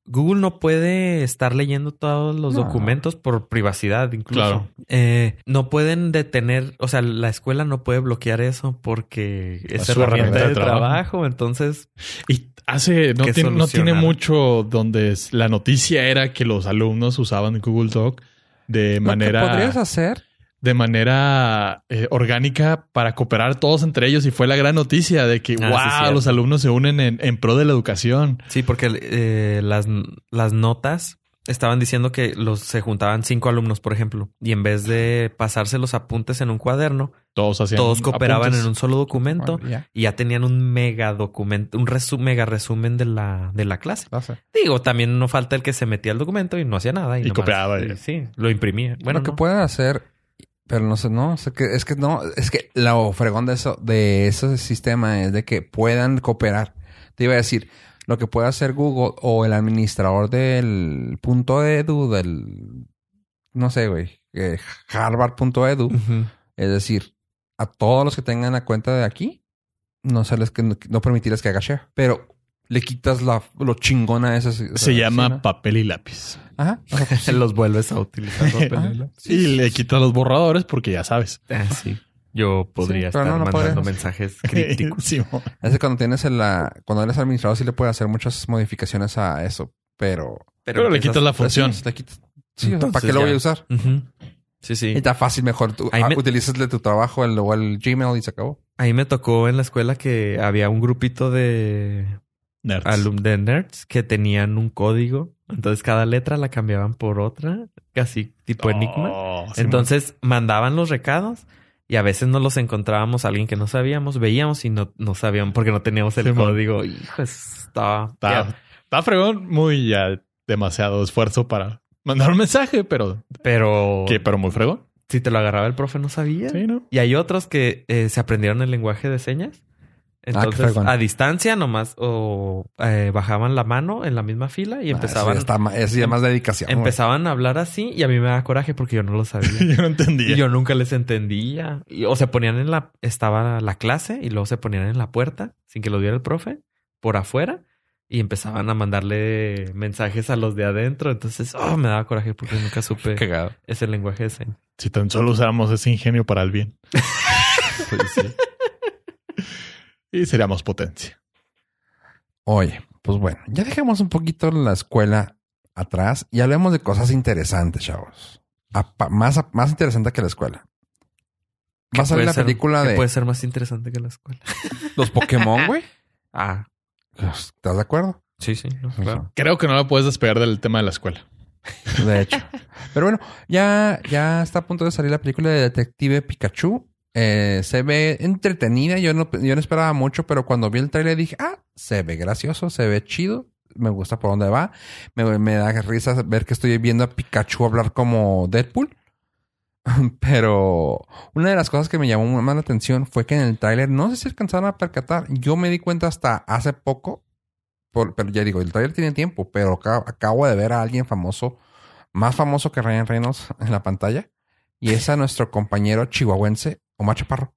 C: Google no puede estar leyendo todos los
A: No.
C: documentos por privacidad, incluso.
B: Claro.
C: Eh, no pueden detener, o sea, la escuela no puede bloquear eso porque es,
B: su
C: herramienta, de, trabajo.
B: trabajo,
C: Entonces,
B: Y hace, no
C: Que
B: tiene, no tiene
C: solucionaron.
B: mucho donde es- la noticia era que los alumnos usaban Google Doc
A: Lo
B: de
A: que podrías
B: manera,
A: hacer
B: de manera eh, orgánica para cooperar todos entre ellos. Y fue la gran noticia de que,
C: Ah, sí,
B: wow,
C: cierto.
B: los alumnos se unen en, en pro de la educación.
C: sí, porque eh, las, las notas estaban diciendo que los se juntaban cinco alumnos, por ejemplo, y en vez de pasarse los apuntes en un cuaderno,
B: Todos hacían.
C: todos cooperaban
B: apuntes.
C: en un solo documento
A: Bueno, ya,
C: y ya tenían un mega documento, un resu- mega resumen de la, de la clase.
A: lo hace.
C: Digo, también no falta el que se metía el documento y no hacía nada. Y,
B: Y
C: nomás-
B: copiaba,
C: y
B: eh.
C: sí, lo imprimía. Bueno,
A: lo que
C: no.
A: pueden hacer, pero no sé, no, sé que, es que no, es que lo fregón de eso, de ese sistema es de que puedan cooperar. Te iba a decir, lo que puede hacer Google o el administrador del punto edu, del no sé, güey, eh, Harvard.edu,
C: Ujú.
A: es decir, a todos los que tengan la cuenta de aquí, no se les que no permitirles que haga share, pero le quitas la lo chingona a esas.
B: Se llama
A: ¿no?
B: papel y lápiz.
A: Ajá. O sea, pues, sí.
C: Los vuelves a utilizar.
A: Ah.
C: los
B: Ajá.
C: pelos.
B: y le quitas los borradores porque ya sabes.
C: Ah, sí. Yo
A: Sí,
C: podría
A: pero
C: estar
A: no, no
C: mandando
A: podrías.
C: mensajes crípticos.
B: Sí, mo.
A: Es que cuando tienes el, la, cuando eres administrador sí le puedes hacer muchas modificaciones a eso, pero
B: Pero le quitas la función.
A: Pues sí, le quitas- sí, o sea,
C: Entonces
A: ¿para qué lo
C: ya.
A: voy a usar?
C: Ujú. Sí,
A: Y
C: sí.
A: está fácil, mejor tú
C: Ahí
A: ah,
C: me-
A: utilízale tu trabajo el, o el Gmail y se acabó.
C: Ahí me tocó en la escuela que había un grupito de,
B: Nerds.
C: alum de nerds que tenían un código. Entonces cada letra la cambiaban por otra, casi tipo enigma.
B: Oh,
A: Pues
B: sí, mo.
C: Entonces mandaban los recados y a veces no los encontrábamos a alguien que no sabíamos, veíamos y no, no sabíamos porque no teníamos el
B: Simón.
C: código. Hijo, estaba.
B: Está,
C: Ya,
B: está fregón, muy ya demasiado esfuerzo para mandar un mensaje, pero
C: Pero
B: que pero muy fregón.
C: si te lo agarraba el profe, no sabía.
B: Sí, ¿no?
C: Y hay otros que eh, se aprendieron el lenguaje de señas.
A: Ah, qué
C: Entonces,
A: fregón.
C: a distancia nomás, o eh, bajaban la mano en la misma fila y em-
A: Ah,
C: empezaban,
A: Eso ya, está ma- eso ya es más dedicación. güey.
C: empezaban a hablar así y a mí me da coraje porque yo no lo sabía.
B: Yo no entendía.
C: y yo nunca les entendía. Y, o se ponían en la... Estaba la clase y luego se ponían en la puerta sin que lo viera el profe, por afuera. Y empezaban a mandarle mensajes a los de adentro. Entonces, oh, me daba coraje porque nunca supe
A: Cagado.
C: ese lenguaje de señas.
B: Si tan solo usáramos ese ingenio para el bien. Pues Y seríamos potencia.
A: Oye, pues bueno, ya dejamos un poquito la escuela atrás y hablemos de cosas interesantes, chavos. Apa- más, más interesante que la escuela. Va a salir
C: Puede
A: la
C: ser-
A: película
C: que pues,
A: de
C: Puede ser más interesante que la escuela.
A: los Pokémon, güey.
C: Ah,
A: ¿Estás de acuerdo?
C: sí, sí. no, claro.
B: Creo que no la puedes despegar del tema de la escuela.
A: De hecho. Pero bueno, ya, ya está a punto de salir la película de Detective Pikachu. Eh, se ve entretenida. Yo no, yo no esperaba mucho, pero cuando vi el trailer dije, ah, se ve gracioso, se ve chido. Me gusta por dónde va. Me, me da risa ver que estoy viendo a Pikachu hablar como Deadpool. Pero una de las cosas que me llamó más la atención fue que en el tráiler, no sé si alcanzaron a percatar, yo me di cuenta hasta hace poco, por- pero ya digo, el tráiler tiene tiempo, pero acá- acabo de ver a alguien famoso más famoso que Ryan Reynolds en la pantalla. Y es a nuestro compañero chihuahuense, Omar Chaparro.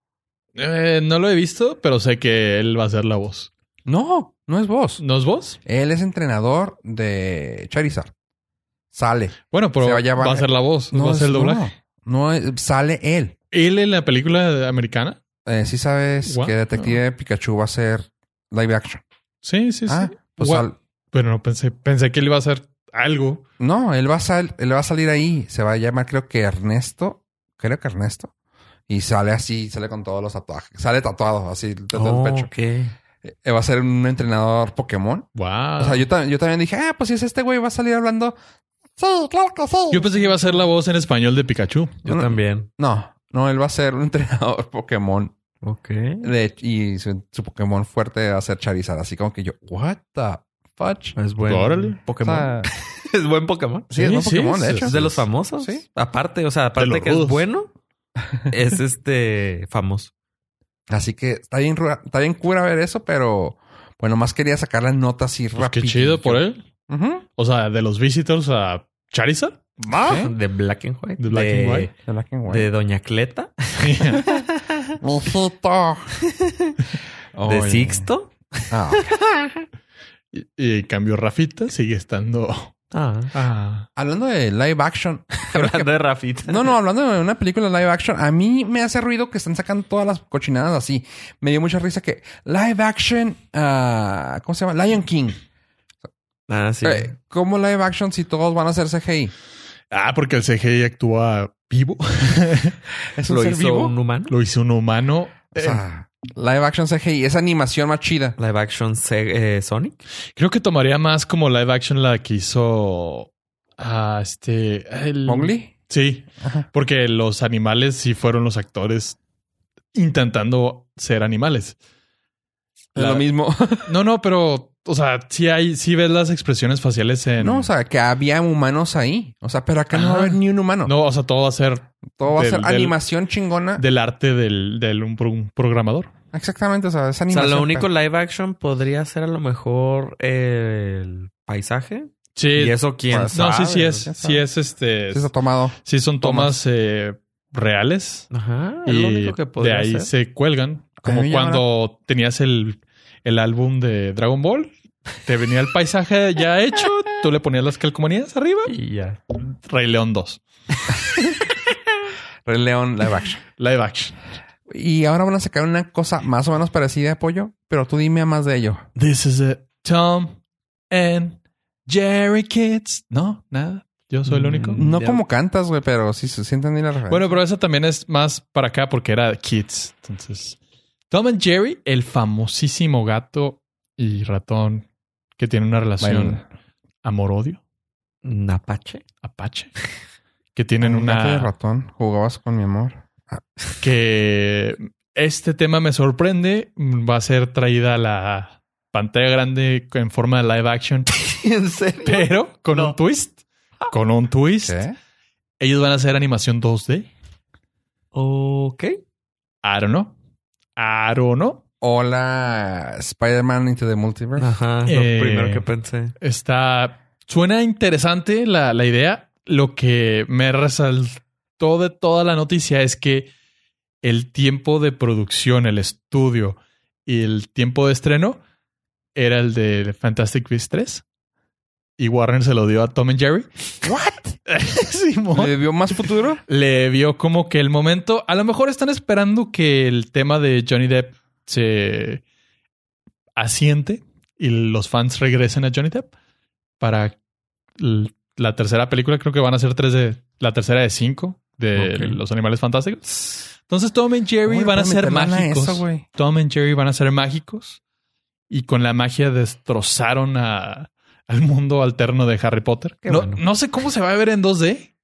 B: Eh, no lo he visto, pero sé que él va a ser la voz.
A: No, no es vos.
B: ¿No es voz?
A: Él es entrenador de Charizard. Sale.
B: Bueno, pero
A: Se va a
B: va,
A: llevar-
B: a ser la voz.
A: No
B: va a ser
A: es-
B: el doblaje.
A: No, no es- sale él.
B: Él en la película americana.
A: Eh, sí sabes
B: What?
A: que Detective Pikachu va a ser live action.
B: Sí, sí, sí.
A: ah, pues
B: Gua-
A: sal-
B: Pero no pensé, pensé que él iba a hacer algo.
A: No, él va, a sal- él va a salir ahí. Se va a llamar, creo que Ernesto. Creo que Ernesto. Y sale así, sale con todos los tatuajes. Sale tatuado, así, de todo
C: Oh,
A: el pecho.
C: ok.
A: Eh, Va a ser un entrenador Pokémon.
B: Wow.
A: O sea, yo, ta- yo también dije, ah, pues si es este güey, va a salir hablando. Sí, claro que sí.
B: Yo pensé que iba a ser la voz en español de Pikachu. Pues,
C: Yo
A: No,
C: también.
A: No, no, él va a ser un entrenador Pokémon.
C: Ok.
A: De, y su, su Pokémon fuerte va a ser Charizard. Así como que yo, what the fudge.
C: Es buen
B: Órale.
A: O
C: Pokémon.
A: sea,
C: es buen Pokémon.
A: sí, es un
B: Sí, sí,
A: Pokémon, de
B: es-
A: hecho.
C: Es de los famosos.
A: Sí.
C: Aparte, o sea, aparte
B: los
C: que es
B: rudos.
C: bueno, es este famoso.
A: Así que está bien, rura- está bien cura ver eso, pero bueno, más quería sacar las notas así
B: Pues qué
A: rapidillo.
B: chido por él.
A: Ujú.
B: O sea, de los visitors a Charizard.
A: Va.
C: De Black and White.
B: De Black
C: de,
B: and White.
A: De Black and
C: de
A: White.
C: Doña Cleta.
A: Ojito.
C: De
A: Oye.
C: Sixto.
A: Ah,
B: Y, y en cambio, Rafita sigue estando.
C: Ah,
B: Ah,
A: Hablando de live action.
C: hablando de Rafita.
A: No, no, hablando de una película live action, a mí me hace ruido que están sacando todas las cochinadas así. Me dio mucha risa que live action, ah, ¿cómo se llama? Lion King.
C: Ah, sí.
A: Eh, ¿Cómo live action si todos van a hacer CGI?
B: Ah, porque el CGI actúa vivo.
A: ¿Es un
C: Lo
A: ser
C: hizo
A: vivo?
C: un humano.
B: Lo hizo un humano.
A: O
B: Eh,
A: sea, live action CGI, esa animación más chida.
C: Live action se- eh, Sonic.
B: creo que tomaría más como live action la que hizo. ah, este. El...
A: ¿Mowgli?
B: Sí,
A: Ajá.
B: porque los animales sí fueron los actores intentando ser animales.
A: Es
B: La-
A: Lo mismo.
B: No, no, pero, o sea, sí hay, sí ves las expresiones faciales en.
A: No, o sea, que había humanos ahí. O sea, pero acá no Ah. va a
B: Ajá.
A: haber ni un humano.
B: No, o sea, todo va a ser
A: Todo va a
B: del-
A: ser
B: del-
A: animación chingona.
B: del arte del, del un, pro- un programador.
A: Exactamente, o sea, es
C: O sea,
A: animación.
C: lo único live action podría ser a lo mejor el paisaje.
B: Sí.
C: y eso quién
A: pues,
B: no,
C: sabe.
B: sí, sí es.
A: quién
B: Sí
A: sabe.
B: es este.
A: Se ha tomado.
B: Sí son
A: tomas.
B: tomas, eh, reales.
C: Ajá, es
B: Y
C: Ah, lo único que
B: de
C: podría
B: ahí
C: ser.
B: se cuelgan. Como
A: me llama la-
B: cuando tenías el, el álbum de Dragon Ball. Te venía el paisaje ya hecho. Tú le ponías las calcomanías arriba.
C: Y ya.
B: Rey León 2.
A: Rey León live action.
B: Live action.
A: Y ahora van a sacar una cosa más o menos parecida de pollo, pero tú dime más de ello.
B: This is it. Tom and Jerry Kids. No, nada. Yo soy el único.
A: No
C: Ya.
A: como cantas, güey, pero sí, sí entendí la referencia.
B: Bueno, pero eso también es más para acá porque era Kids. Entonces, Tom and Jerry, el famosísimo gato y ratón que tiene una relación
A: Bueno.
B: amor-odio,
C: Napache.
B: Apache, que tienen
A: Ah, Un gato de
B: una.
A: ratón, jugabas con mi amor.
B: Que este tema me sorprende. Va a ser traída a la pantalla grande en forma de live action,
C: ¿En serio?
B: pero con
C: No.
B: un twist. Con un twist.
A: ¿Qué?
B: Ellos van a hacer animación 2D.
C: Ok.
B: I don't know. I don't know.
A: Hola, Spider-Man into the Multiverse.
C: Ajá, es lo
B: Eh,
C: primero que pensé.
B: Está. Suena interesante la, la idea. Lo que me resaltó de toda la noticia es que el tiempo de producción, el estudio y el tiempo de estreno era el de Fantastic Beasts 3. Y Warner se lo dio a Tom and Jerry. ¿What? Simón.
A: ¿Le vio más futuro?
B: le vio como que el momento. A lo mejor están esperando que el tema de Johnny Depp se asiente y los fans regresen a Johnny Depp para l- la tercera película. Creo que van a ser tres de la tercera de cinco de
C: Ok.
B: los animales fantásticos. Entonces Tom and Jerry van a ser mágicos.
A: Eso, güey?
B: Tom and Jerry van a ser mágicos y con la magia destrozaron a- al mundo alterno de Harry Potter.
A: Qué
B: No,
A: bueno.
B: no sé cómo se va a ver en 2D.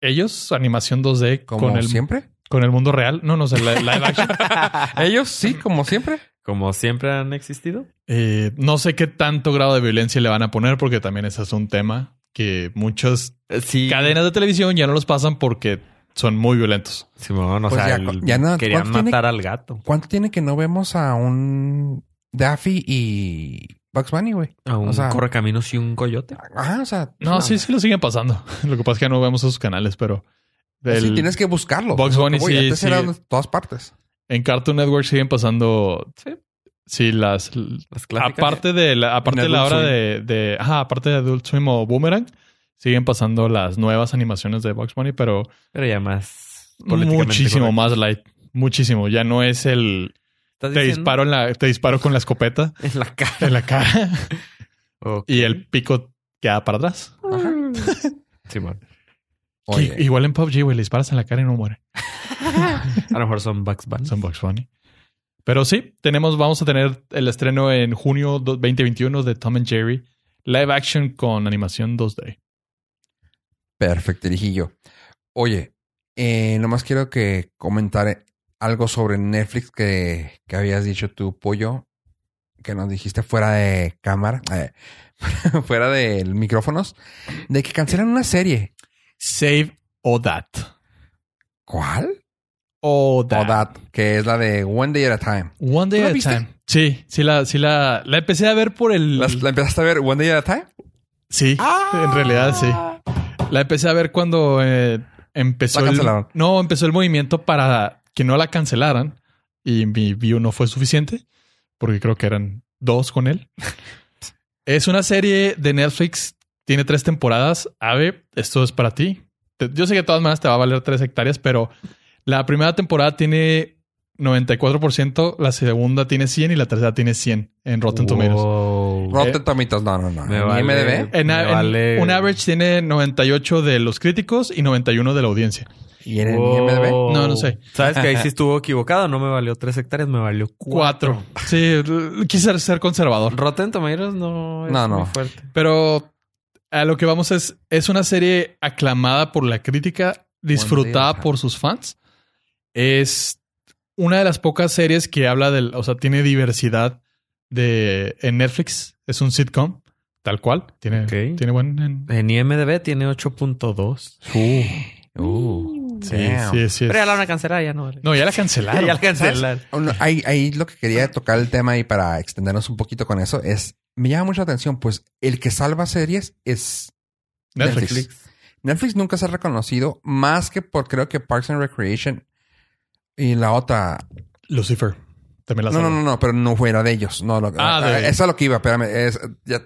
B: Ellos, animación 2D
A: ¿Como
B: con el,
A: siempre?
B: con el mundo real. No, no sé, li- live action.
A: Ellos sí, como siempre.
C: Como siempre han existido.
B: Eh, no sé qué tanto grado de violencia le van a poner porque también ese es un tema que muchas
C: Eh, Sí.
B: cadenas de televisión ya no los pasan porque son muy violentos.
C: Simón, o
A: Pues
C: sea,
A: ya,
C: el-
A: ya no-
C: querían
A: ¿cuánto tiene-
C: matar al gato.
A: ¿Cuánto tiene que no vemos a un Daffy y Bugs Bunny, güey?
C: A un
A: O sea-
C: correcaminos y un coyote.
A: Ajá, o sea.
B: No, sí, sí lo siguen pasando. Lo que pasa es que no vemos esos canales, pero
A: Sí,
B: el-
A: tienes que buscarlo.
B: Bugs Bunny
A: Oye,
B: sí,
A: antes
B: sí.
A: eran en todas partes.
B: en Cartoon Network siguen pasando.
C: Sí.
B: Sí, las
C: Las clásicas.
B: Aparte de la, aparte de la
A: Adult
B: hora
A: Swim.
B: de, de- ajá, aparte de Adult Swim o Boomerang, siguen pasando las nuevas animaciones de Box Bunny, pero
C: Pero ya más. políticamente
B: muchísimo
C: correcto.
B: más light. Muchísimo. Ya no es el
C: ¿Estás
B: te
C: diciendo?
B: disparo en la, te disparo con la escopeta
C: En la cara.
B: en la cara
C: Ok.
B: y el pico queda para atrás.
A: Ajá.
C: Simón.
A: Oye,
B: Que igual en PUBG, güey, le disparas en la cara y no muere.
C: A lo mejor son Bugs Bunny.
B: Son Box Bunny. Pero sí, tenemos, vamos a tener el estreno en junio do- 2021 de Tom and Jerry. Live action con animación 2D.
A: perfecto, dirijillo. Oye, eh, nomás quiero que comentar eh, algo sobre Netflix que, que habías dicho tú, pollo, que nos dijiste fuera de cámara, eh, fuera de micrófonos, de que cancelan una serie.
B: Save all that.
A: ¿Cuál?
B: O
A: O That, que es la de One Day at a Time.
B: One Day
A: ¿Tú la
B: at a
A: viste?
B: Time. Sí, sí la, sí la, la empecé a ver por el.
A: ¿La, la empezaste a ver One Day at a Time?
B: Sí,
A: Ah.
B: en realidad sí. La empecé a ver cuando eh, empezó.
A: La
B: el-
A: cancelaron.
B: no, empezó el movimiento para que no la cancelaran y mi view no fue suficiente porque creo que eran dos con él. Es una serie de Netflix, tiene tres temporadas. Ave, esto es para ti. Te- Yo sé que de todas maneras te va a valer tres hectáreas, pero la primera temporada tiene 94%, la segunda tiene 100 y la tercera tiene 100 en Rotten Tomatoes.
C: Wow.
A: Rotten Tomatoes, no, no, no.
C: Me
A: Ni
C: vale.
A: IMDb.
B: En, a-
C: Me
B: en-
C: vale.
B: un average tiene 98 de los críticos y 91 de la audiencia.
A: Y en el
C: Wow.
A: IMDb.
B: No, no sé.
C: Sabes que ahí sí estuvo equivocado. No me valió tres hectáreas, me valió cuatro.
B: Cuatro. Sí, l- quise ser conservador.
C: Rotten Tomatoes no es
A: No, no.
C: muy fuerte.
B: Pero a lo que vamos es, es una serie aclamada por la crítica,
A: One
B: disfrutada
A: Day at
B: por sus fans. Es una de las pocas series que habla del, o sea, tiene diversidad de en Netflix. Es un sitcom, tal cual. Tiene,
C: Ok.
B: tiene buen. en-
C: En IMDB tiene 8.2.
A: Uh,
B: sí,
A: damn.
B: sí, sí, es-
C: Pero ya la van a cancelar, ya no. Ah,
B: No, ya la cancelaron.
C: ya la cancelaron.
A: Uno- Oh, ahí, ahí lo que quería tocar el tema y para extendernos un poquito con eso es, me llama mucho la atención, pues el que salva series es
B: Netflix.
A: Netflix. Netflix nunca se ha reconocido más que por creo que Parks and Recreation y la otra.
B: Lucifer. También la
A: No, no,
B: salvó.
A: no, no, pero no fuera de ellos. No, lo-
B: Ah, de-
A: eh, eso es lo que iba, espérame. es- ya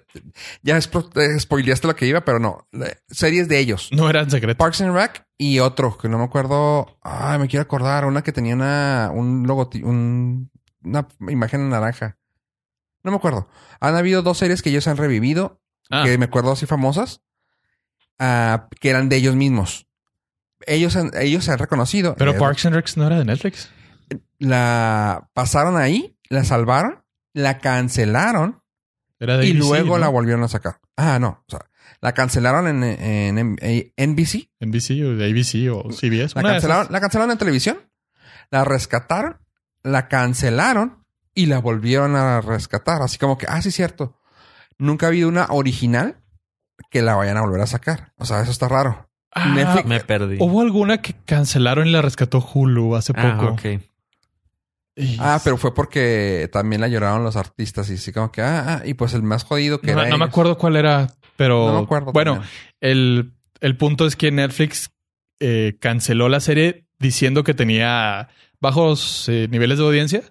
A: ya spo- eh, spoileaste lo que iba, pero no. la- Series de ellos.
B: No era en secreto.
A: Parks and Rec y otro que no me acuerdo. Ay, me quiero acordar. Una que tenía una, un logotipo, un, una imagen en naranja. No me acuerdo. Han habido dos series que ellos han revivido
B: Ah,
A: que me acuerdo así famosas, ah, que eran de ellos mismos. Ellos, han- ellos se han reconocido.
B: pero
A: Eh,
B: Parks and Rec no era de Netflix.
A: La pasaron ahí, la salvaron, la cancelaron
B: Era de
A: y
B: ABC,
A: luego
B: ¿no?
A: la volvieron a sacar. Ah, no. o sea, la cancelaron en, en- en- en NBC.
B: NBC o de ABC o CBS.
A: La
B: una de esas.
A: cancelaron, la cancelaron en televisión. La rescataron, la cancelaron y la volvieron a rescatar. Así como que, ah, sí, cierto. Nunca ha habido una original que la vayan a volver a sacar. O sea, eso está raro.
B: Ah,
A: Netflix-
C: Me perdí.
B: Hubo alguna que cancelaron y la rescató Hulu hace
C: Ah,
B: poco.
C: ok.
B: Y-
A: Ah, pero fue porque también la lloraron los artistas y así como que, ah, ah, y pues el más jodido que
B: No,
A: era.
B: no me
A: ellos.
B: acuerdo cuál era, pero.
A: No me acuerdo.
B: Bueno,
A: también.
B: el, el punto es que Netflix eh, canceló la serie diciendo que tenía bajos eh, niveles de audiencia,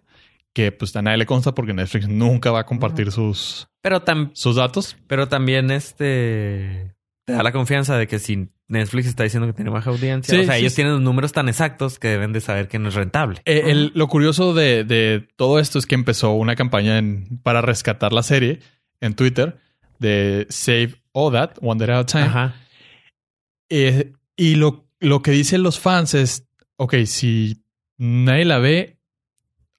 B: que pues a nadie le consta porque Netflix nunca va a compartir sus,
C: Pero, tam-
B: sus datos.
C: pero también este te da la confianza de que si Netflix está diciendo que tiene baja audiencia,
B: Sí,
C: o sea,
B: sí,
C: ellos
B: sí.
C: tienen los números tan exactos que deben de saber que no es rentable.
B: Eh, el- lo curioso de, de todo esto es que empezó una campaña en- para rescatar la serie en Twitter de Save All That, One Day at a Time.
C: Ajá.
B: Eh, y lo, lo que dicen los fans es, ok, si nadie la ve,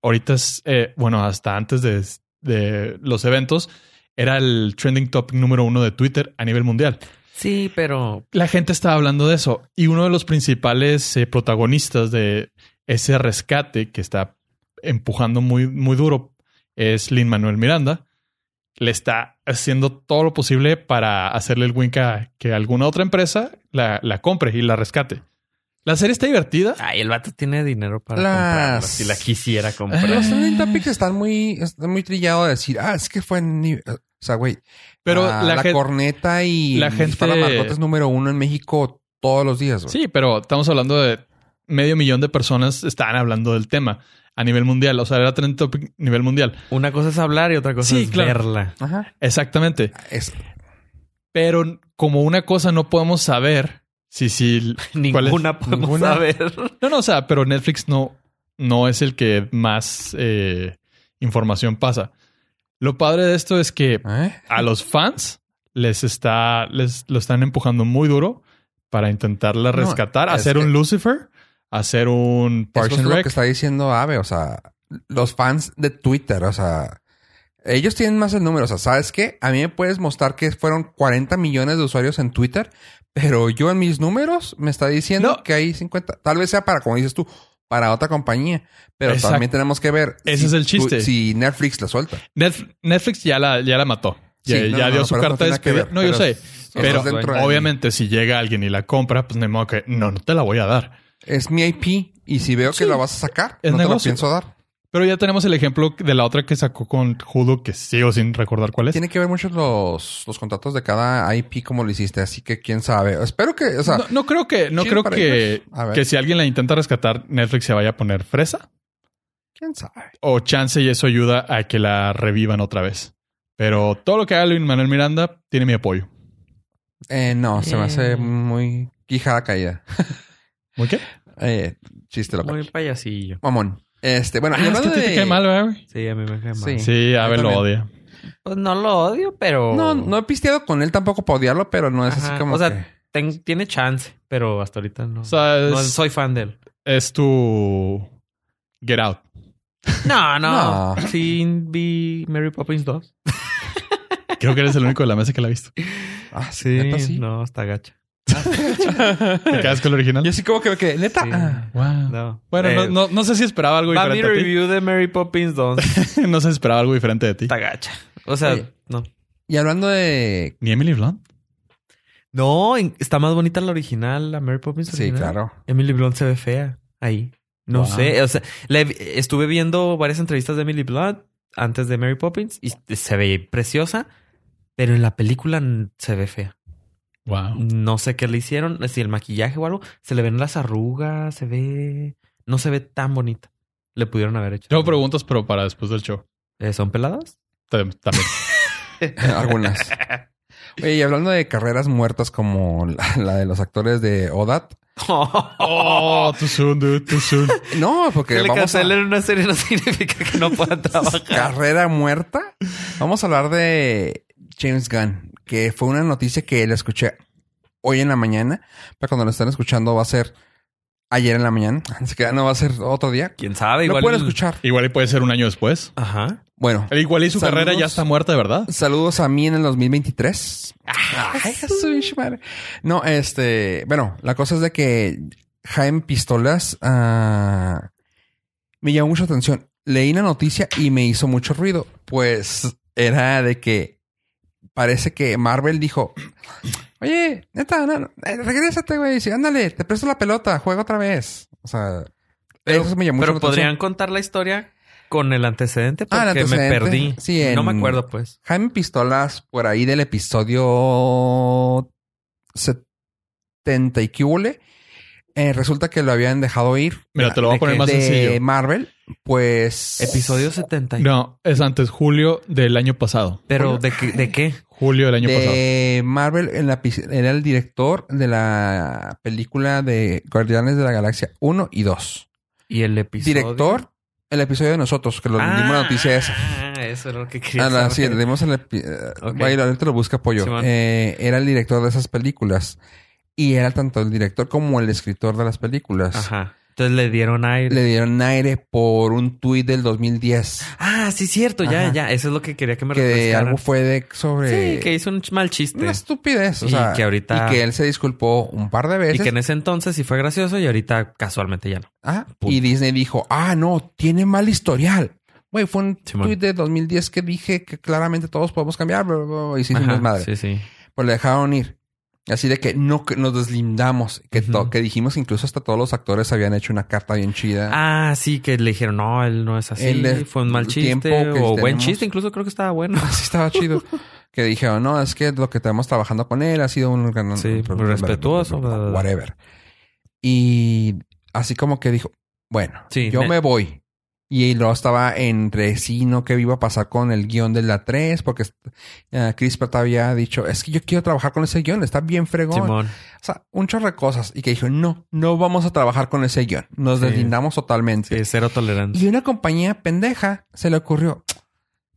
B: ahorita es, eh, bueno, hasta antes de, de los eventos, era el trending topic número uno de Twitter a nivel mundial.
C: Sí, pero
B: La gente estaba hablando de eso y uno de los principales eh, protagonistas de ese rescate que está empujando muy, muy duro es Lin Manuel Miranda. Le está haciendo todo lo posible para hacerle el wink a que alguna otra empresa la, la compre y la rescate. La serie está divertida.
C: ay, el vato tiene dinero para
A: Las-
C: comprarla si la quisiera comprar.
B: Ah.
A: Los trending topics están muy, están muy trillados de decir, ah, es que fue en. ni- O sea, güey.
B: Pero
A: ah,
B: la, gente...
A: corneta y
B: la gente-
A: Dispara Marcota es número uno en México todos los días, güey.
B: Sí, pero estamos hablando de medio millón de personas estaban hablando del tema a nivel mundial. O sea, era trending topic a nivel mundial.
C: Una cosa es hablar y otra cosa
B: Sí,
C: es
B: claro.
C: verla.
A: Ajá.
B: Exactamente.
A: Es,
B: Pero como una cosa no podemos saber si sí. ¿Cuál es?
C: Ninguna podemos
A: Ninguna.
C: saber.
B: No, no, o sea, pero Netflix no, no es el que más eh, información pasa. Lo padre de esto es que
A: ¿eh?
B: a los fans les está, les lo están empujando muy duro para intentarla
A: No,
B: rescatar,
A: es
B: hacer
A: que-
B: un Lucifer, hacer un Parks
A: Eso es
B: and
A: lo que
B: Rec.
A: está diciendo Ave, o sea, los fans de Twitter, o sea, ellos tienen más el número, o sea, ¿sabes qué? A mí me puedes mostrar que fueron 40 millones de usuarios en Twitter, pero yo en mis números me está diciendo
B: No.
A: que hay 50, tal vez sea para, como dices tú, para otra compañía, pero
B: Exacto.
A: también tenemos que ver
B: Ese es el
A: tu-
B: chiste.
A: si Netflix la suelta.
B: Netf- Netflix ya la, ya la mató. Ya,
A: Sí, no,
B: ya
A: no,
B: dio
A: no,
B: su
A: pero eso
B: carta de
A: tiene que
B: despedida.
A: ver,
B: No, yo
A: pero
B: sé.
A: eso
B: Pero
A: es dentro de mí.
B: obviamente, si llega alguien y la compra, pues ni modo que no, no te la voy a dar.
A: Es mi IP y si veo que
B: Sí.
A: la vas a sacar,
B: Es
A: no te la
B: negocio.
A: pienso dar.
B: Pero ya tenemos el ejemplo de la otra que sacó con Hulu, que sigo sin recordar cuál es.
A: Tiene que ver mucho los, los contratos de cada IP como lo hiciste, así que quién sabe. Espero que, o sea,
B: no, no creo que, no
A: sí,
B: creo
A: para
B: que,
A: ellos. A ver.
B: que si alguien la intenta rescatar, Netflix se vaya a poner fresa
A: quién sabe.
B: o chance y eso ayuda a que la revivan otra vez. Pero todo lo que haga Luis Manuel Miranda tiene mi apoyo.
A: Eh, no, se me hace
C: Eh.
A: muy quijada caída.
B: ¿Muy qué?
A: Eh, chiste loco.
C: Muy payasillo.
A: Mamón. Este, bueno,
B: Ah,
A: y
B: es
A: hablando
B: que a ti te
A: de-
B: cae mal, ¿verdad, güey?
C: Sí, a mí me cae mal.
A: Sí.
B: Sí, Ave
A: Yo
B: lo
A: también.
B: odia.
C: Pues no lo odio, pero...
A: No, no he pisteado con él tampoco para odiarlo, pero no es
C: Ajá,
A: así como.
C: o sea,
A: que-
C: ten- tiene chance, pero hasta ahorita no.
B: O sea, es,
C: no soy fan de él.
B: es tu Get Out.
C: No, no.
A: No.
C: Sí, vi Mary Poppins 2.
B: Creo que eres el único de la mesa que la ha visto.
A: Ah, ¿neta sí.
C: No, está gacha.
B: ¿Te quedas con el original?
A: Yo sí como que me quedé, neta.
C: Sí.
A: Ah.
B: Wow.
C: No.
B: Bueno,
C: Eh,
B: no, no, no sé si esperaba algo
C: Va mi
B: diferente a
C: review de Mary Poppins 2.
B: ti. no sé si esperaba algo diferente de ti.
C: Está gacha. O sea,
A: Oye.
C: no.
A: Y hablando de.
B: Ni Emily Blunt.
C: No, en- está más bonita la original, la Mary Poppins
A: Sí,
C: original.
A: claro.
C: Emily Blunt se ve fea ahí. No
B: Wow.
C: sé, o sea, la vi- estuve viendo varias entrevistas de Emily Blunt antes de Mary Poppins y se ve preciosa, pero en la película n- se ve fea.
B: Wow.
C: No sé qué le hicieron, si el maquillaje o algo, se le ven las arrugas, se ve... No se ve tan bonita. Le pudieron haber hecho.
B: Tengo preguntas, pero para después del show.
C: Eh, ¿Son peladas?
B: Tam- También.
A: Algunas. Oye, y hablando de carreras muertas como la, la de los actores de Odat.
B: oh, too soon, dude, too soon.
A: No, porque
C: que le
A: vamos a.
C: cancelen una serie no significa que no puedan trabajar.
A: Carrera muerta. Vamos a hablar de James Gunn, que fue una noticia que la escuché hoy en la mañana. Pero cuando lo están escuchando va a ser ayer en la mañana. Así que no va a ser otro día.
C: ¿Quién sabe?
A: Lo
C: Igual...
A: pueden escuchar.
B: Igual y puede ser un año después.
C: Ajá.
A: Bueno,
B: Igual y su
A: Saludos.
B: carrera ya está muerta, de verdad.
A: Saludos a mí en el 2023. Ay, a su pinche madre. No, este, bueno, la cosa es de que Jaime Pistolas ah, me llamó mucha atención. Leí la noticia y me hizo mucho ruido. Pues era de que parece que Marvel dijo, oye, neta, no, no, eh, regrésate, güey. Sí, ándale, te presto la pelota, juega otra vez. O sea,
C: Pero-
A: eso me llamó
C: Eh, Pero
A: mucho la atención.
C: podrían contar la historia con el antecedente porque
A: Ah, el antecedente.
C: me perdí.
A: Sí, en-
C: No me acuerdo, pues.
A: Jaime Pistolas, por ahí del episodio 70 y qué hule, eh, resulta que lo habían dejado ir.
B: Mira, te lo voy a
C: ¿de
B: poner
C: qué?
B: más
A: de
B: sencillo.
A: Marvel, pues.
C: Episodio 70.
B: No, es antes, julio del año pasado.
C: Pero ¿de qué? ¿De qué?
B: Julio del año pasado.
A: de Marvel en la pis- era el director de la película de Guardianes de la Galaxia 1 y 2.
C: Y el episodio.
A: Director, el episodio de nosotros, que lo dimos la noticia esa.
C: Ah, eso era lo que quería.
A: Ah, la- sí,
C: saber.
A: le dimos el epi- eh,
C: Ok.
A: Vaya, la neta lo busca apoyo. Eh,
C: Simón.
A: era el director de esas películas. Y era tanto el director como el escritor de las películas.
C: Ajá. Pues, Entonces le dieron aire.
A: Le dieron aire por un tuit del 2010.
C: Ah, sí, cierto. Ya,
A: Ajá.
C: ya. Eso es lo que quería que me
A: que de
C: refrescaran.
A: algo fue de sobre
C: Sí, que hizo un ch- mal chiste.
A: una estupidez. O
C: Y
A: sea,
C: que ahorita-
A: y que él se disculpó un par de
C: Y
A: veces.
C: que en ese entonces sí fue gracioso y ahorita casualmente ya no.
A: Ajá.
C: Punto.
A: Y Disney dijo, ah, no, tiene mal historial. Güey, fue un
C: Simón.
A: tuit de 2010 que dije que claramente todos podemos cambiar. bla, bla, bla, y sí,
C: Ajá,
A: madre.
C: Sí, sí.
A: pues le dejaron ir. Así de que no que nos deslindamos, que, to-
C: Ujú.
A: que dijimos incluso hasta todos los actores habían hecho una carta bien chida.
C: Ah, sí, que le dijeron, no, él no es así.
A: Él es-
C: fue un mal
A: el tiempo
C: chiste
A: que
C: o buen
A: tenemos-
C: chiste. Incluso creo que estaba bueno.
A: Así estaba chido. que dijeron, no, es que lo que tenemos trabajando con él ha sido un gran-
C: Sí, muy respetuoso, bla, bla, bla.
A: Whatever. Y así como que dijo, bueno,
C: Sí,
A: yo
C: ne-
A: me voy. Y luego estaba entre sí, no, qué iba a pasar con el guión de la 3, porque eh, Chris Pratt había dicho, es que yo quiero trabajar con ese guión, está bien fregón.
C: Simón.
A: O sea, un chorro de cosas. Y que dijo, no, no vamos a trabajar con ese guión. Nos
C: Sí.
A: deslindamos totalmente.
C: Sí, cero tolerante.
A: Y una compañía pendeja se le ocurrió,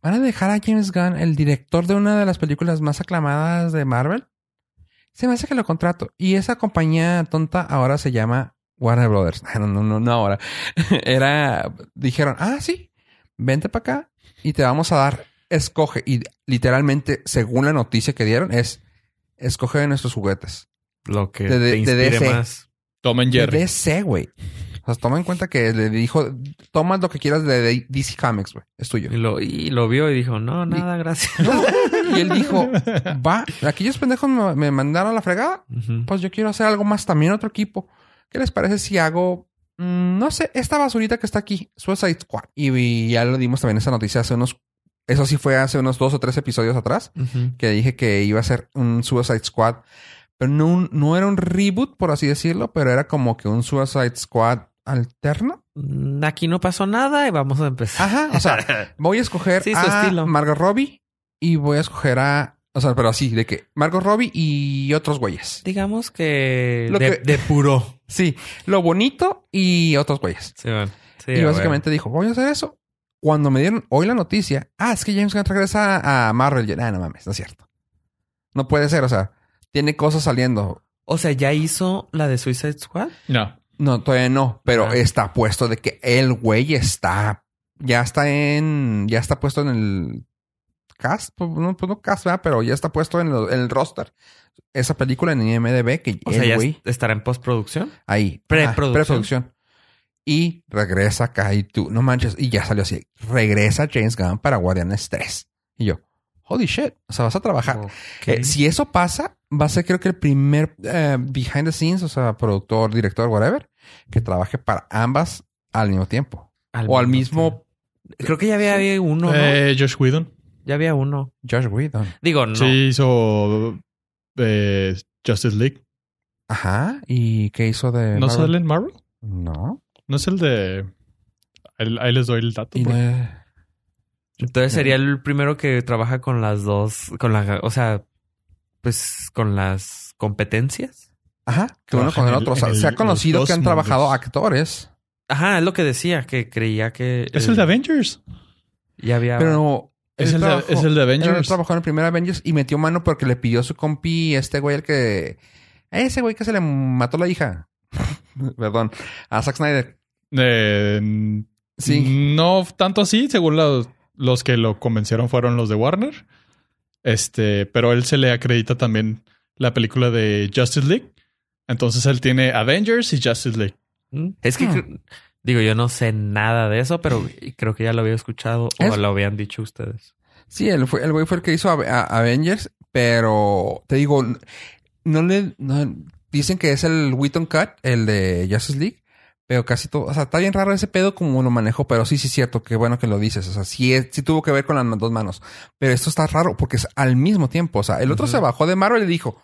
A: ¿van a dejar a James Gunn, el director de una de las películas más aclamadas de Marvel? Se me hace que lo contrato. Y esa compañía tonta ahora se llama Warner Brothers. No, no, no, no ahora. Era, dijeron, ah, sí, vente para acá y te vamos a dar, escoge. Y literalmente, según la noticia que dieron, es, escoge de nuestros juguetes.
C: Lo que
A: De- de-
C: te
A: de
C: inspire
A: DC.
C: más.
B: Tom and
A: De
B: Jerry.
A: DC, güey. O sea, toma en cuenta que le dijo, toma lo que quieras de de DC Comics, güey. Es tuyo.
C: Y lo, y lo vio y dijo, no, nada, gracias.
A: Y él dijo, va, aquellos pendejos me, me mandaron a la fregada.
C: Ujú.
A: Pues yo quiero hacer algo más también, otro equipo. ¿Qué les parece si hago, mm, no sé, esta basurita que está aquí, Suicide Squad? Y, y ya le dimos también esa noticia hace unos, eso sí fue hace unos dos o tres episodios atrás,
C: Ujú.
A: que dije que iba a ser un Suicide Squad. Pero no, un- no era un reboot, por así decirlo, pero era como que un Suicide Squad alterno.
C: Mm, Aquí no pasó nada y vamos a empezar.
A: Ajá, o sea, voy a escoger
C: Sí, su
A: a
C: estilo.
A: Margot Robbie, Y voy a escoger a. O sea, pero así, de que Margot Robbie y otros güeyes.
C: Digamos que,
A: Ah. Lo
C: de-
A: que-
C: depuró.
A: Sí, lo bonito y otros güeyes.
C: Sí, bueno. Sí,
A: y
C: a
A: básicamente dijo, voy a hacer eso. Cuando me dieron hoy la noticia, ah, es que James Gunn regresa a Marvel. Yo, ah, no mames, no es cierto. No puede ser, o sea, tiene cosas saliendo.
C: huevo. O sea, ya hizo la de Suicide Squad.
B: No.
A: No, todavía no, pero
C: Ajá.
A: está puesto de que el güey está, ya está en, ya está puesto en el cast, pues, no, pues, no cast, ¿verdad? pero ya está puesto en, lo- en el roster. Esa película en IMDB que
C: O
A: el
C: sea, ya
A: güey
C: est- estará en postproducción.
A: ahí.
C: Preproducción.
A: Ah, preproducción. Y regresa acá y tú, no manches. Y ya salió así. Regresa James Gunn para Guardianes 3. Y yo, holy shit. O sea, vas a trabajar.
C: Ok.
A: Eh, si eso pasa, va a ser creo que el primer eh, behind the scenes, o sea, productor, director, whatever, que trabaje para ambas al mismo tiempo. o al mismo
C: Creo que ya había había uno, ¿no?
B: Eh, Josh Whedon.
C: Ya había uno.
A: Josh Whedon.
C: Digo, no.
B: Sí hizo eh, Justice League.
A: Ajá. ¿Y qué hizo de
B: ¿No
A: Marvel?
B: sale en Marvel?
A: No.
B: ¿No es el de...? Ahí ahí les doy el dato.
A: Y
B: porque-
A: no-
C: Entonces sería el primero que trabaja con las dos, con la, o sea, pues con las competencias.
A: Ajá. Que uno
B: Trabaja
A: con
B: en
A: el
B: el-
A: otro. O sea,
B: en
A: se ha
B: el-
A: conocido
B: los
A: que han
B: dos
A: trabajado
B: mundos.
A: actores.
C: Ajá, es lo que decía, que creía que...
B: Es el de Avengers.
C: Ya había...
A: Pero
B: Es
A: él
B: el,
A: trabajó-
B: de, es el de
A: Él
B: Avengers.
A: trabajó en el primer Avengers y metió mano porque le pidió a su compi, este güey, el que. Ese güey que se le mató la hija. Perdón. A Zack Snyder.
B: Eh,
A: Sí.
B: No tanto así, según los, los que lo convencieron fueron los de Warner. Este, pero él se le acredita también la película de Justice League. Entonces él tiene Avengers y Justice League.
C: ¿Mm? Es que...
A: Hmm.
C: cre- Digo, yo no sé nada de eso, pero creo que ya lo había escuchado o
A: Es-
C: lo habían dicho ustedes.
A: Sí, él fue, el güey fue el que hizo Ave- a- Avengers, pero te digo, no le. no- dicen que es el Wheaton Cut, el de Justice League. Pero casi todo, o sea, está bien raro ese pedo como lo manejó, pero sí, sí es cierto, qué bueno que lo dices, o sea, sí, es- sí tuvo que ver con las dos manos, pero esto está raro porque es al mismo tiempo, o sea, el otro
C: Ujú.
A: se bajó de Marvel y dijo,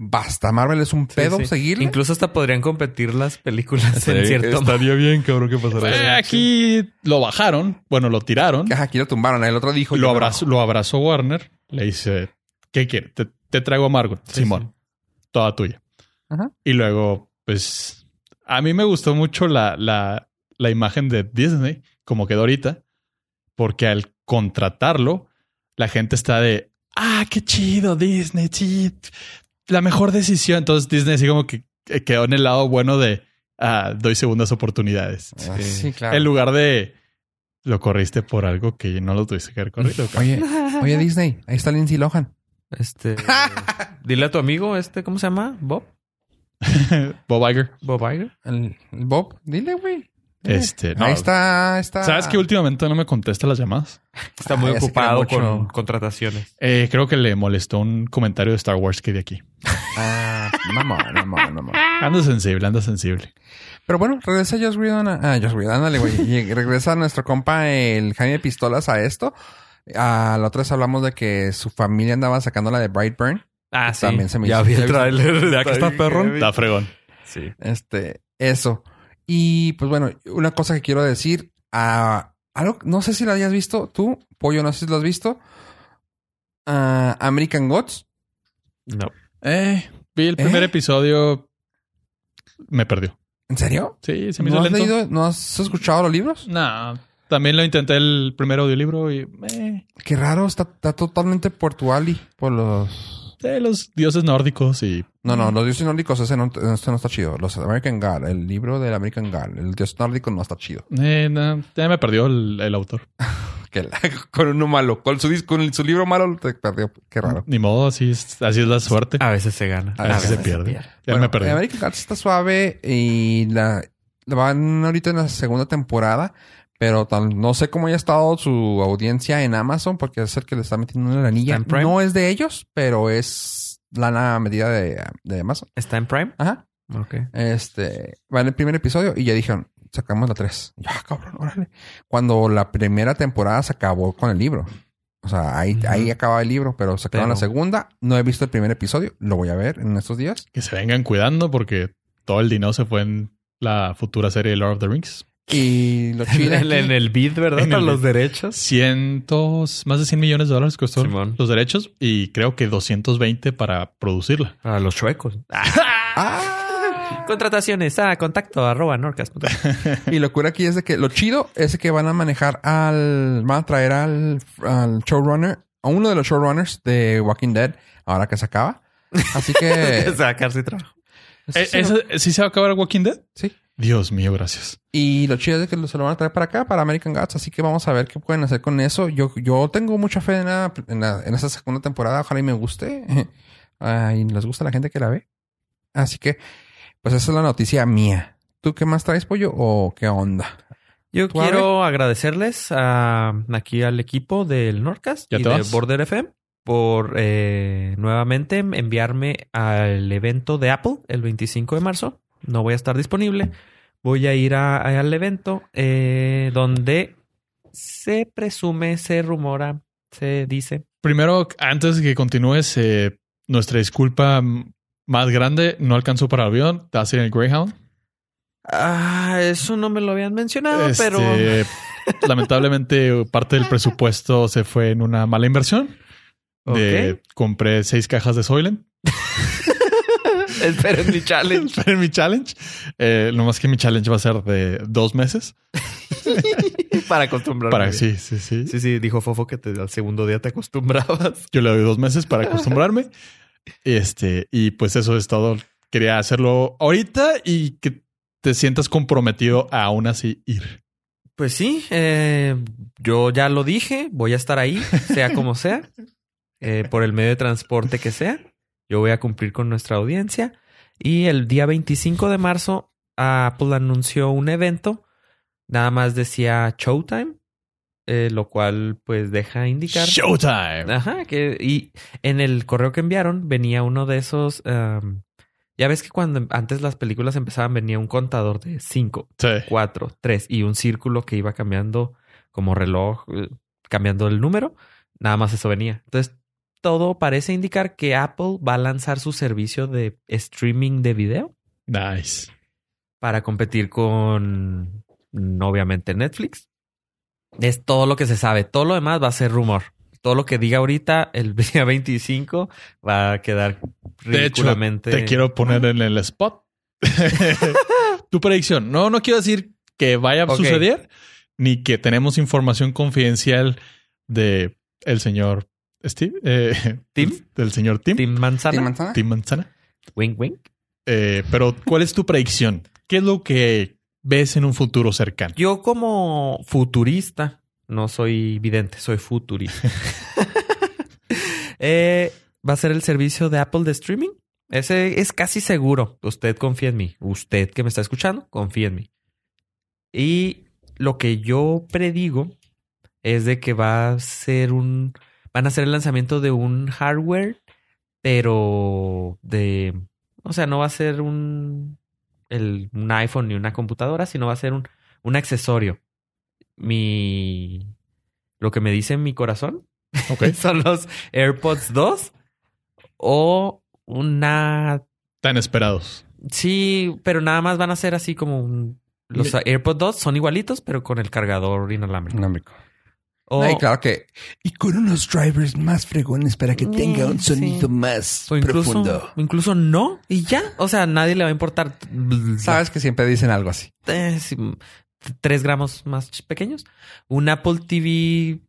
A: basta, Marvel es un
C: Sí,
A: pedo
C: sí.
A: seguirle.
C: Incluso hasta podrían competir las películas en cierto modo.
B: Estaría bien, cabrón, que pasara.
C: Bueno,
B: Eh, aquí lo bajaron, bueno, lo tiraron.
A: Ajá, aquí lo tumbaron. El otro dijo...
B: Lo
A: yo
B: abrazó,
A: no.
B: lo abrazó Warner. Le dice, ¿qué quiere? Te, te traigo a Margot,
C: Sí,
B: Simón. Toda tuya.
A: Ajá.
B: Y luego, pues, a mí me gustó mucho la, la, la imagen de Disney, como quedó ahorita, porque al contratarlo, la gente está de, ah, qué chido Disney, sí, la mejor decisión. Entonces Disney así como que eh, quedó en el lado bueno de, ah, doy segundas oportunidades.
A: Ah, Sí, claro.
B: En lugar de, lo corriste por algo que no lo tuviste que haber corrido. cabrón".
A: Oye, oye, Disney, ahí está Lindsay Lohan.
C: Este... dile a tu amigo, este, ¿cómo se llama? Bob.
B: Bob Iger.
C: Bob Iger.
A: El, el Bob, dile, güey. Dile.
B: Este, no.
A: Eh, Ahí está, está...
B: ¿Sabes que últimamente no me contesta las llamadas?
C: Está muy
A: Ah, ya se
C: ocupado
A: queda mucho.
C: con contrataciones.
B: Eh, creo que le molestó un comentario de Star Wars que di aquí.
A: Ah, mamón, mamón, mamón.
B: Anda sensible, anda sensible.
A: Pero bueno, regresa Josh Whedon. A, ah, Josh Whedon, ándale, güey. Y regresa nuestro compa, el Jaime Pistolas, a esto. A la otra vez hablamos de que su familia andaba sacándola de Brightburn.
C: Ah, sí.
A: También se me
C: ya
A: hizo-
C: vi el
A: ya vi-
C: tráiler. De aquí está
A: bien
C: perro.
A: heavy.
B: Está fregón.
C: Sí.
A: Este, eso. Y pues bueno, una cosa que quiero decir, a algo, no sé si la hayas visto tú, Pollo, no sé si lo has visto. Ah, American Gods.
C: No.
B: Eh, vi el primer
A: ¿Eh?
B: episodio. Me perdió.
A: ¿En serio?
B: Sí, se me
A: ¿No
B: hizo
A: has
B: lento.
A: leído, no has escuchado los libros?
B: No, también lo intenté el primer audiolibro y eh,
A: Qué raro, está, está totalmente portual y por los.
B: de los dioses nórdicos y
A: No, no, los dioses nórdicos, ese no, este no está chido. Los American God, el libro del American God, el dios nórdico no está chido.
B: eh, no, ya me perdió el, el autor.
A: Que la- con uno malo, con su, dis- con su libro malo te perdió. Qué raro.
B: Ni modo, así es, así es la suerte.
C: A veces se gana.
A: A
B: A veces se
A: veces
B: pierde.
C: pierde.
B: Ya
A: Bueno,
B: me perdió.
A: eh, American Gods está suave y la, la van ahorita en la segunda temporada, pero tal- no sé cómo haya estado su audiencia en Amazon porque es el que le está metiendo una lanilla.
C: ¿Está en Prime?
A: No es de ellos, pero es lana medida de, de Amazon.
C: ¿Está en Prime?
A: Ajá.
C: Ok.
A: Este, va en el primer episodio y ya dijeron, sacamos la 3. Ya, "Ah, cabrón, órale. Cuando la primera temporada se acabó con el libro. O sea, ahí,
C: Ujú.
A: ahí acaba el libro, pero sacaron la
C: Pero-
A: segunda. No he visto el primer episodio, lo voy a ver en estos días.
B: Que se vengan cuidando porque todo el dinero se fue en la futura serie de Lord of the Rings.
A: Y lo chido
C: en,
A: aquí-
C: en el bid, ¿verdad?
B: En
C: Para
B: el
C: los
B: bid.
C: derechos.
B: Cientos, más de 100 millones de dólares costó
C: Simón.
B: los derechos y creo que 220 para producirla.
C: Para los chuecos.
A: ¡Ah!
C: Contrataciones a contacto arroba norcas.
A: Y lo cura aquí es de que lo chido es de que van a manejar al. Van a traer al, al showrunner, a uno de los showrunners de Walking Dead, ahora que se acaba. Así que.
C: Sacarse trabajo.
A: sí,
B: Eh,
A: sí,
B: ¿esa- ¿Sí se va a acabar Walking Dead?
A: Sí.
B: Dios mío, gracias.
A: Y lo chido es de que se lo van a traer para acá, para American Gods. Así que vamos a ver qué pueden hacer con eso. Yo, yo tengo mucha fe en, la- en, la- en esa segunda temporada. Ojalá y me guste. Ah, y les gusta a la gente que la ve. Así que, pues esa es la noticia mía. ¿Tú qué más traes, pollo? ¿O qué onda?
C: Yo
A: ¿Tú, Abre?
C: quiero agradecerles a- aquí al equipo del Norcas
B: ¿Ya
C: y
B: te
C: de
B: vas?
C: Border FM por eh, nuevamente enviarme al evento de Apple el 25 de marzo. No voy a estar disponible. Voy a ir a- a- al evento eh, donde se presume, se rumora, se dice.
B: Primero, antes de que continúes, eh, nuestra disculpa mm, más grande no alcanzó para el avión. Estás en el Greyhound.
C: Ah, eso no me lo habían mencionado,
B: Este,
C: pero
B: lamentablemente, parte del presupuesto se fue en una mala inversión. De, Compré seis cajas de Soylent.
C: esperen mi challenge.
B: Pero en mi challenge, eh, lo más que mi challenge va a ser de dos meses.
C: para acostumbrarme.
B: Para,
C: bien.
B: sí, sí, sí,
C: Sí, sí, dijo Fofo que te- al segundo día te acostumbrabas.
B: Yo le doy dos meses para acostumbrarme. este, y pues eso es todo. Quería hacerlo ahorita y que te sientas comprometido a aún así ir.
C: Pues sí, eh, yo ya lo dije, voy a estar ahí, sea como sea, eh, por el medio de transporte que sea. Yo voy a cumplir con nuestra audiencia. Y el día 25 de marzo, Apple anunció un evento, nada más decía Showtime, eh, lo cual pues deja indicar.
B: Showtime.
C: Ajá, que y en el correo que enviaron venía uno de esos. em, ya ves que cuando antes las películas empezaban, venía un contador de cinco
B: Sí.
C: cuatro, tres y un círculo que iba cambiando como reloj, eh, cambiando el número. Nada más eso venía. Entonces, todo parece indicar que Apple va a lanzar su servicio de streaming de video
B: Nice.
C: para competir con, mm, obviamente, Netflix. Es todo lo que se sabe. Todo lo demás va a ser rumor. Todo lo que diga ahorita, el día 25, va a quedar
B: De hecho,
C: ridículamente.
B: Te quiero poner en el spot. tu predicción. No, no quiero decir que vaya a
C: Ok.
B: suceder ni que tenemos información confidencial de el señor Steve, eh,
C: Tim.
B: del señor Tim, Tim,
C: Team Manzana.
A: ¿Team Manzana?
B: Manzana.
C: Wink, wink.
B: Eh, pero ¿cuál es tu predicción? ¿Qué es lo que ves en un futuro cercano?
C: Yo como futurista, no soy vidente, soy futurista. Eh, va a ser el servicio de Apple de streaming. Ese es casi seguro. Usted confía en mí. Usted que me está escuchando, confía en mí. Y lo que yo predigo es de que va a ser un... Van a hacer el lanzamiento de un hardware, pero de... O sea, no va a ser un... el- un iPhone ni una computadora, sino va a ser un un accesorio. Mi. Lo que me dice mi corazón
B: Ok.
C: son los AirPods 2 o una.
B: Tan esperados.
C: Sí, pero nada más van a ser así como un. Los
B: Me-
C: AirPods 2 son igualitos, pero con el cargador inalámbrico.
A: Inalámbrico.
C: O
A: No, y claro que. Y con unos drivers más fregones para que
C: Mm,
A: tenga un
C: sí.
A: sonido más
C: o incluso,
A: profundo.
C: incluso no, y ya. O sea, a nadie le va a importar.
A: Sabes que siempre dicen algo así.
C: eh, sí, mm, tres gramos más ch- pequeños. Un Apple TV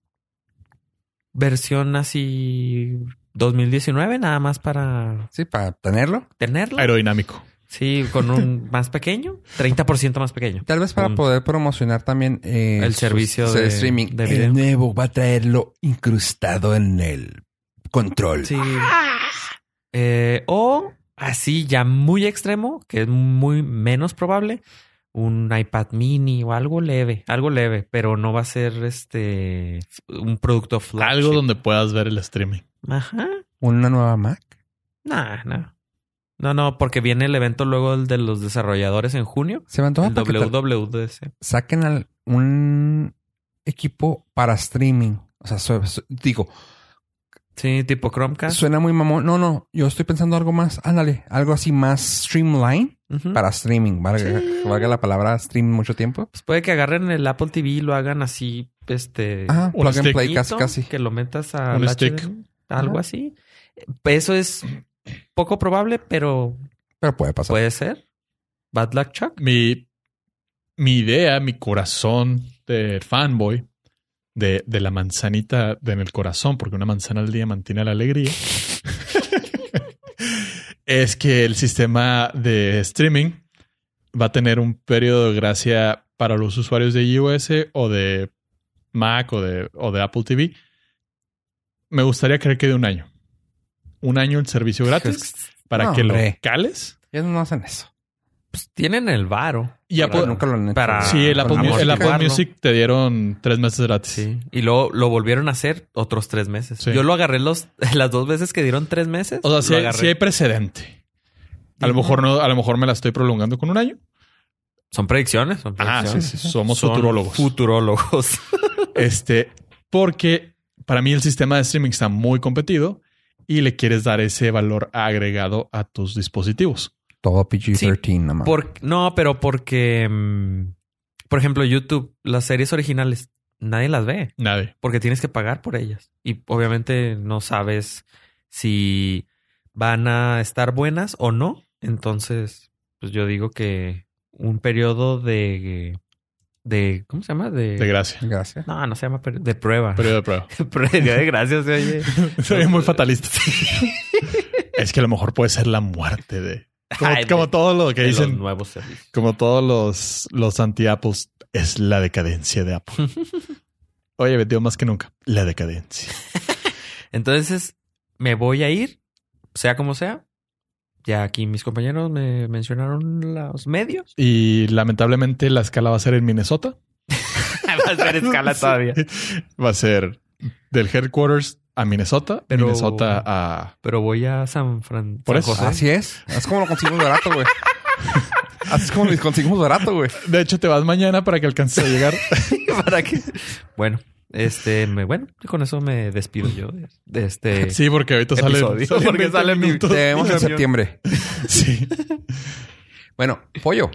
C: versión así 2019, nada más para
A: Sí, para tenerlo.
C: tenerla.
B: Aerodinámico.
C: Sí, con un más pequeño, 30% más pequeño.
A: Tal vez para
C: Punto.
A: poder promocionar también eh,
C: El
A: su-
C: servicio
A: su
C: de-
A: streaming.
C: de video.
A: El nuevo va a traerlo incrustado en el control.
C: Sí. Eh, o así ya muy extremo, que es muy menos probable, un iPad mini o algo leve, algo leve, pero no va a ser este un producto flagship.
B: Algo donde puedas ver el streaming.
C: Ajá.
A: Una nueva Mac.
C: Nah, no. No, no, porque viene el evento luego el de los desarrolladores en junio.
A: Se me antoja
C: el
A: para que tal-
C: WWDC.
A: saquen al- un equipo para streaming. O sea, so- so- digo,
C: Sí, tipo Chromecast.
A: Suena muy mamón. No, no, yo estoy pensando algo más, ándale, algo así más streamline
C: Ujú.
A: para streaming. Valga,
C: Sí.
A: valga la palabra stream mucho tiempo.
C: Pues puede que agarren el Apple TV y lo hagan así, este...
A: Ajá,
B: un
A: plug and
B: stick.
A: play casi,
C: poquito,
A: Ah, casi.
C: Que lo metas a
B: Un
C: Ah, la
B: stick.
C: HDMI, algo
A: Ajá.
C: así. Eso es poco probable, pero
A: Pero puede pasar.
C: puede ser. Bad luck Chuck.
B: mi, mi idea, mi corazón de fanboy, de, de la manzanita de en el corazón, porque una manzana al día mantiene la alegría, es que el sistema de streaming va a tener un periodo de gracia para los usuarios de iOS o de Mac o de, o de Apple TV. Me gustaría creer que de un año. Un año el servicio gratis para
A: No,
B: que lo
A: hombre.
B: cales.
A: Ya no hacen eso.
C: Pues tienen el varo.
B: Y a
C: Para
B: po-
A: nunca lo han hecho.
C: para-
B: Sí, el Apple,
A: Con
B: Mu-
A: la
B: el
A: música.
B: Apple Music te dieron tres meses gratis.
C: Sí. Y luego lo volvieron a hacer otros tres meses.
B: Sí.
C: Yo lo agarré los, las dos veces que dieron tres meses.
B: O sea,
C: lo
B: sí, hay-
C: agarré.
B: sí hay precedente. A lo mejor no, a lo mejor me la estoy prolongando con un año.
C: Son predicciones. Son
B: Ah, sí,
C: predicciones.
B: sí, somos
C: Son
B: futurólogos.
C: Futurólogos.
B: este, porque para mí el sistema de streaming está muy competido y le quieres dar ese valor agregado a tus dispositivos.
A: Todo PG-13 nomás.
C: Por- no, pero porque, mm, por ejemplo, YouTube, las series originales, nadie las ve
B: Nadie.
C: porque tienes que pagar por ellas. Y obviamente no sabes si van a estar buenas o no. Entonces, pues yo digo que un periodo de... de ¿Cómo se llama? De...
B: De gracia.
A: Gracias.
C: no, no se llama peri- de prueba.
B: Periodo de prueba.
C: Periodo de gracias, oye.
B: Soy muy fatalista. es que a lo mejor puede ser la muerte de. Como,
C: Ay,
B: como
C: de-
B: todo lo que
C: de los
B: dicen
C: nuevos servicios.
B: Como todos los, los anti-Apples, es la decadencia de Apple. Oye, vendió más que nunca. La decadencia.
C: Entonces, me voy a ir, sea como sea. Ya aquí mis compañeros me mencionaron los medios.
B: Y lamentablemente la escala va a ser en Minnesota.
C: Va a ser escala todavía.
B: Va a ser del headquarters a Minnesota, de
C: Pero-
B: Minnesota a...
C: Pero voy a San Francisco.
B: Por eso. Ah,
A: Así es. Es como lo conseguimos barato, güey. Así es como lo conseguimos barato, güey.
B: De hecho, te vas mañana para que alcances a llegar.
C: ¿Para qué? Bueno, este, me, bueno, con eso me despido yo de, de este.
B: Sí, porque ahorita sale...
C: Episodio, porque sale mi-
A: Te vemos en septiembre.
B: Sí.
A: Bueno, pollo.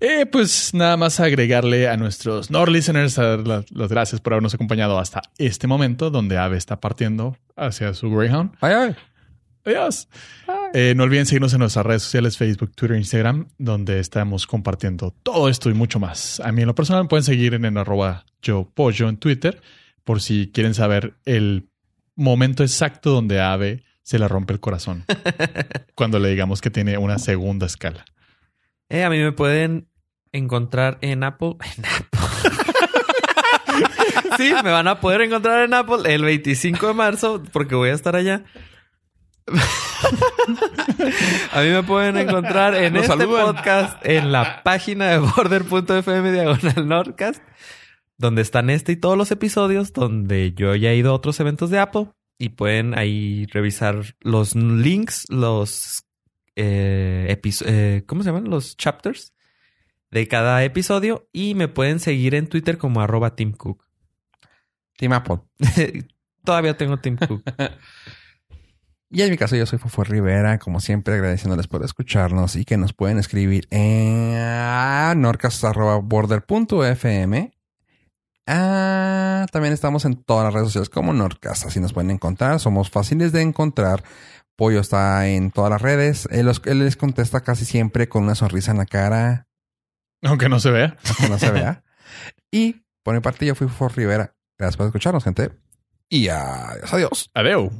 B: Eh, pues nada más agregarle a nuestros Nord listeners a dar la- las, gracias por habernos acompañado hasta este momento, donde Ave está partiendo hacia su Greyhound.
A: Ay, ay.
B: Adiós. Eh, no olviden seguirnos en nuestras redes sociales, Facebook, Twitter, Instagram, donde estamos compartiendo todo esto y mucho más. A mí en lo personal me pueden seguir en, el arroba yo pollo en Twitter, por si quieren saber el momento exacto donde a Ave se le rompe el corazón cuando le digamos que tiene una segunda escala.
C: Eh, a mí me pueden encontrar en Apple. En Apple. sí, me van a poder encontrar en Apple el 25 de marzo porque voy a estar allá. a mí me pueden encontrar en
A: Nos
C: este
A: saludan.
C: podcast en la página de border.fm diagonal nordcast donde están este y todos los episodios donde yo ya he ido a otros eventos de Apple y pueden ahí revisar los links, los eh, episo- eh, ¿cómo se llaman? Los chapters de cada episodio y me pueden seguir en Twitter como arroba Tim Cook.
A: Team Apple.
C: Todavía tengo Tim Cook.
A: Y en mi caso, yo soy Fofo Rivera, como siempre, agradeciéndoles por escucharnos y que nos pueden escribir en ah, a norcas.border.fm. Ah, también estamos en todas las redes sociales como Norcas, así nos pueden encontrar, somos fáciles de encontrar. Pollo está en todas las redes, él, los- él les contesta casi siempre con una sonrisa en la cara,
B: Aunque no se vea.
A: aunque no se vea. y por mi parte, yo fui Fofo Rivera. Gracias por escucharnos, gente. Y adiós, adiós.
B: Adeu.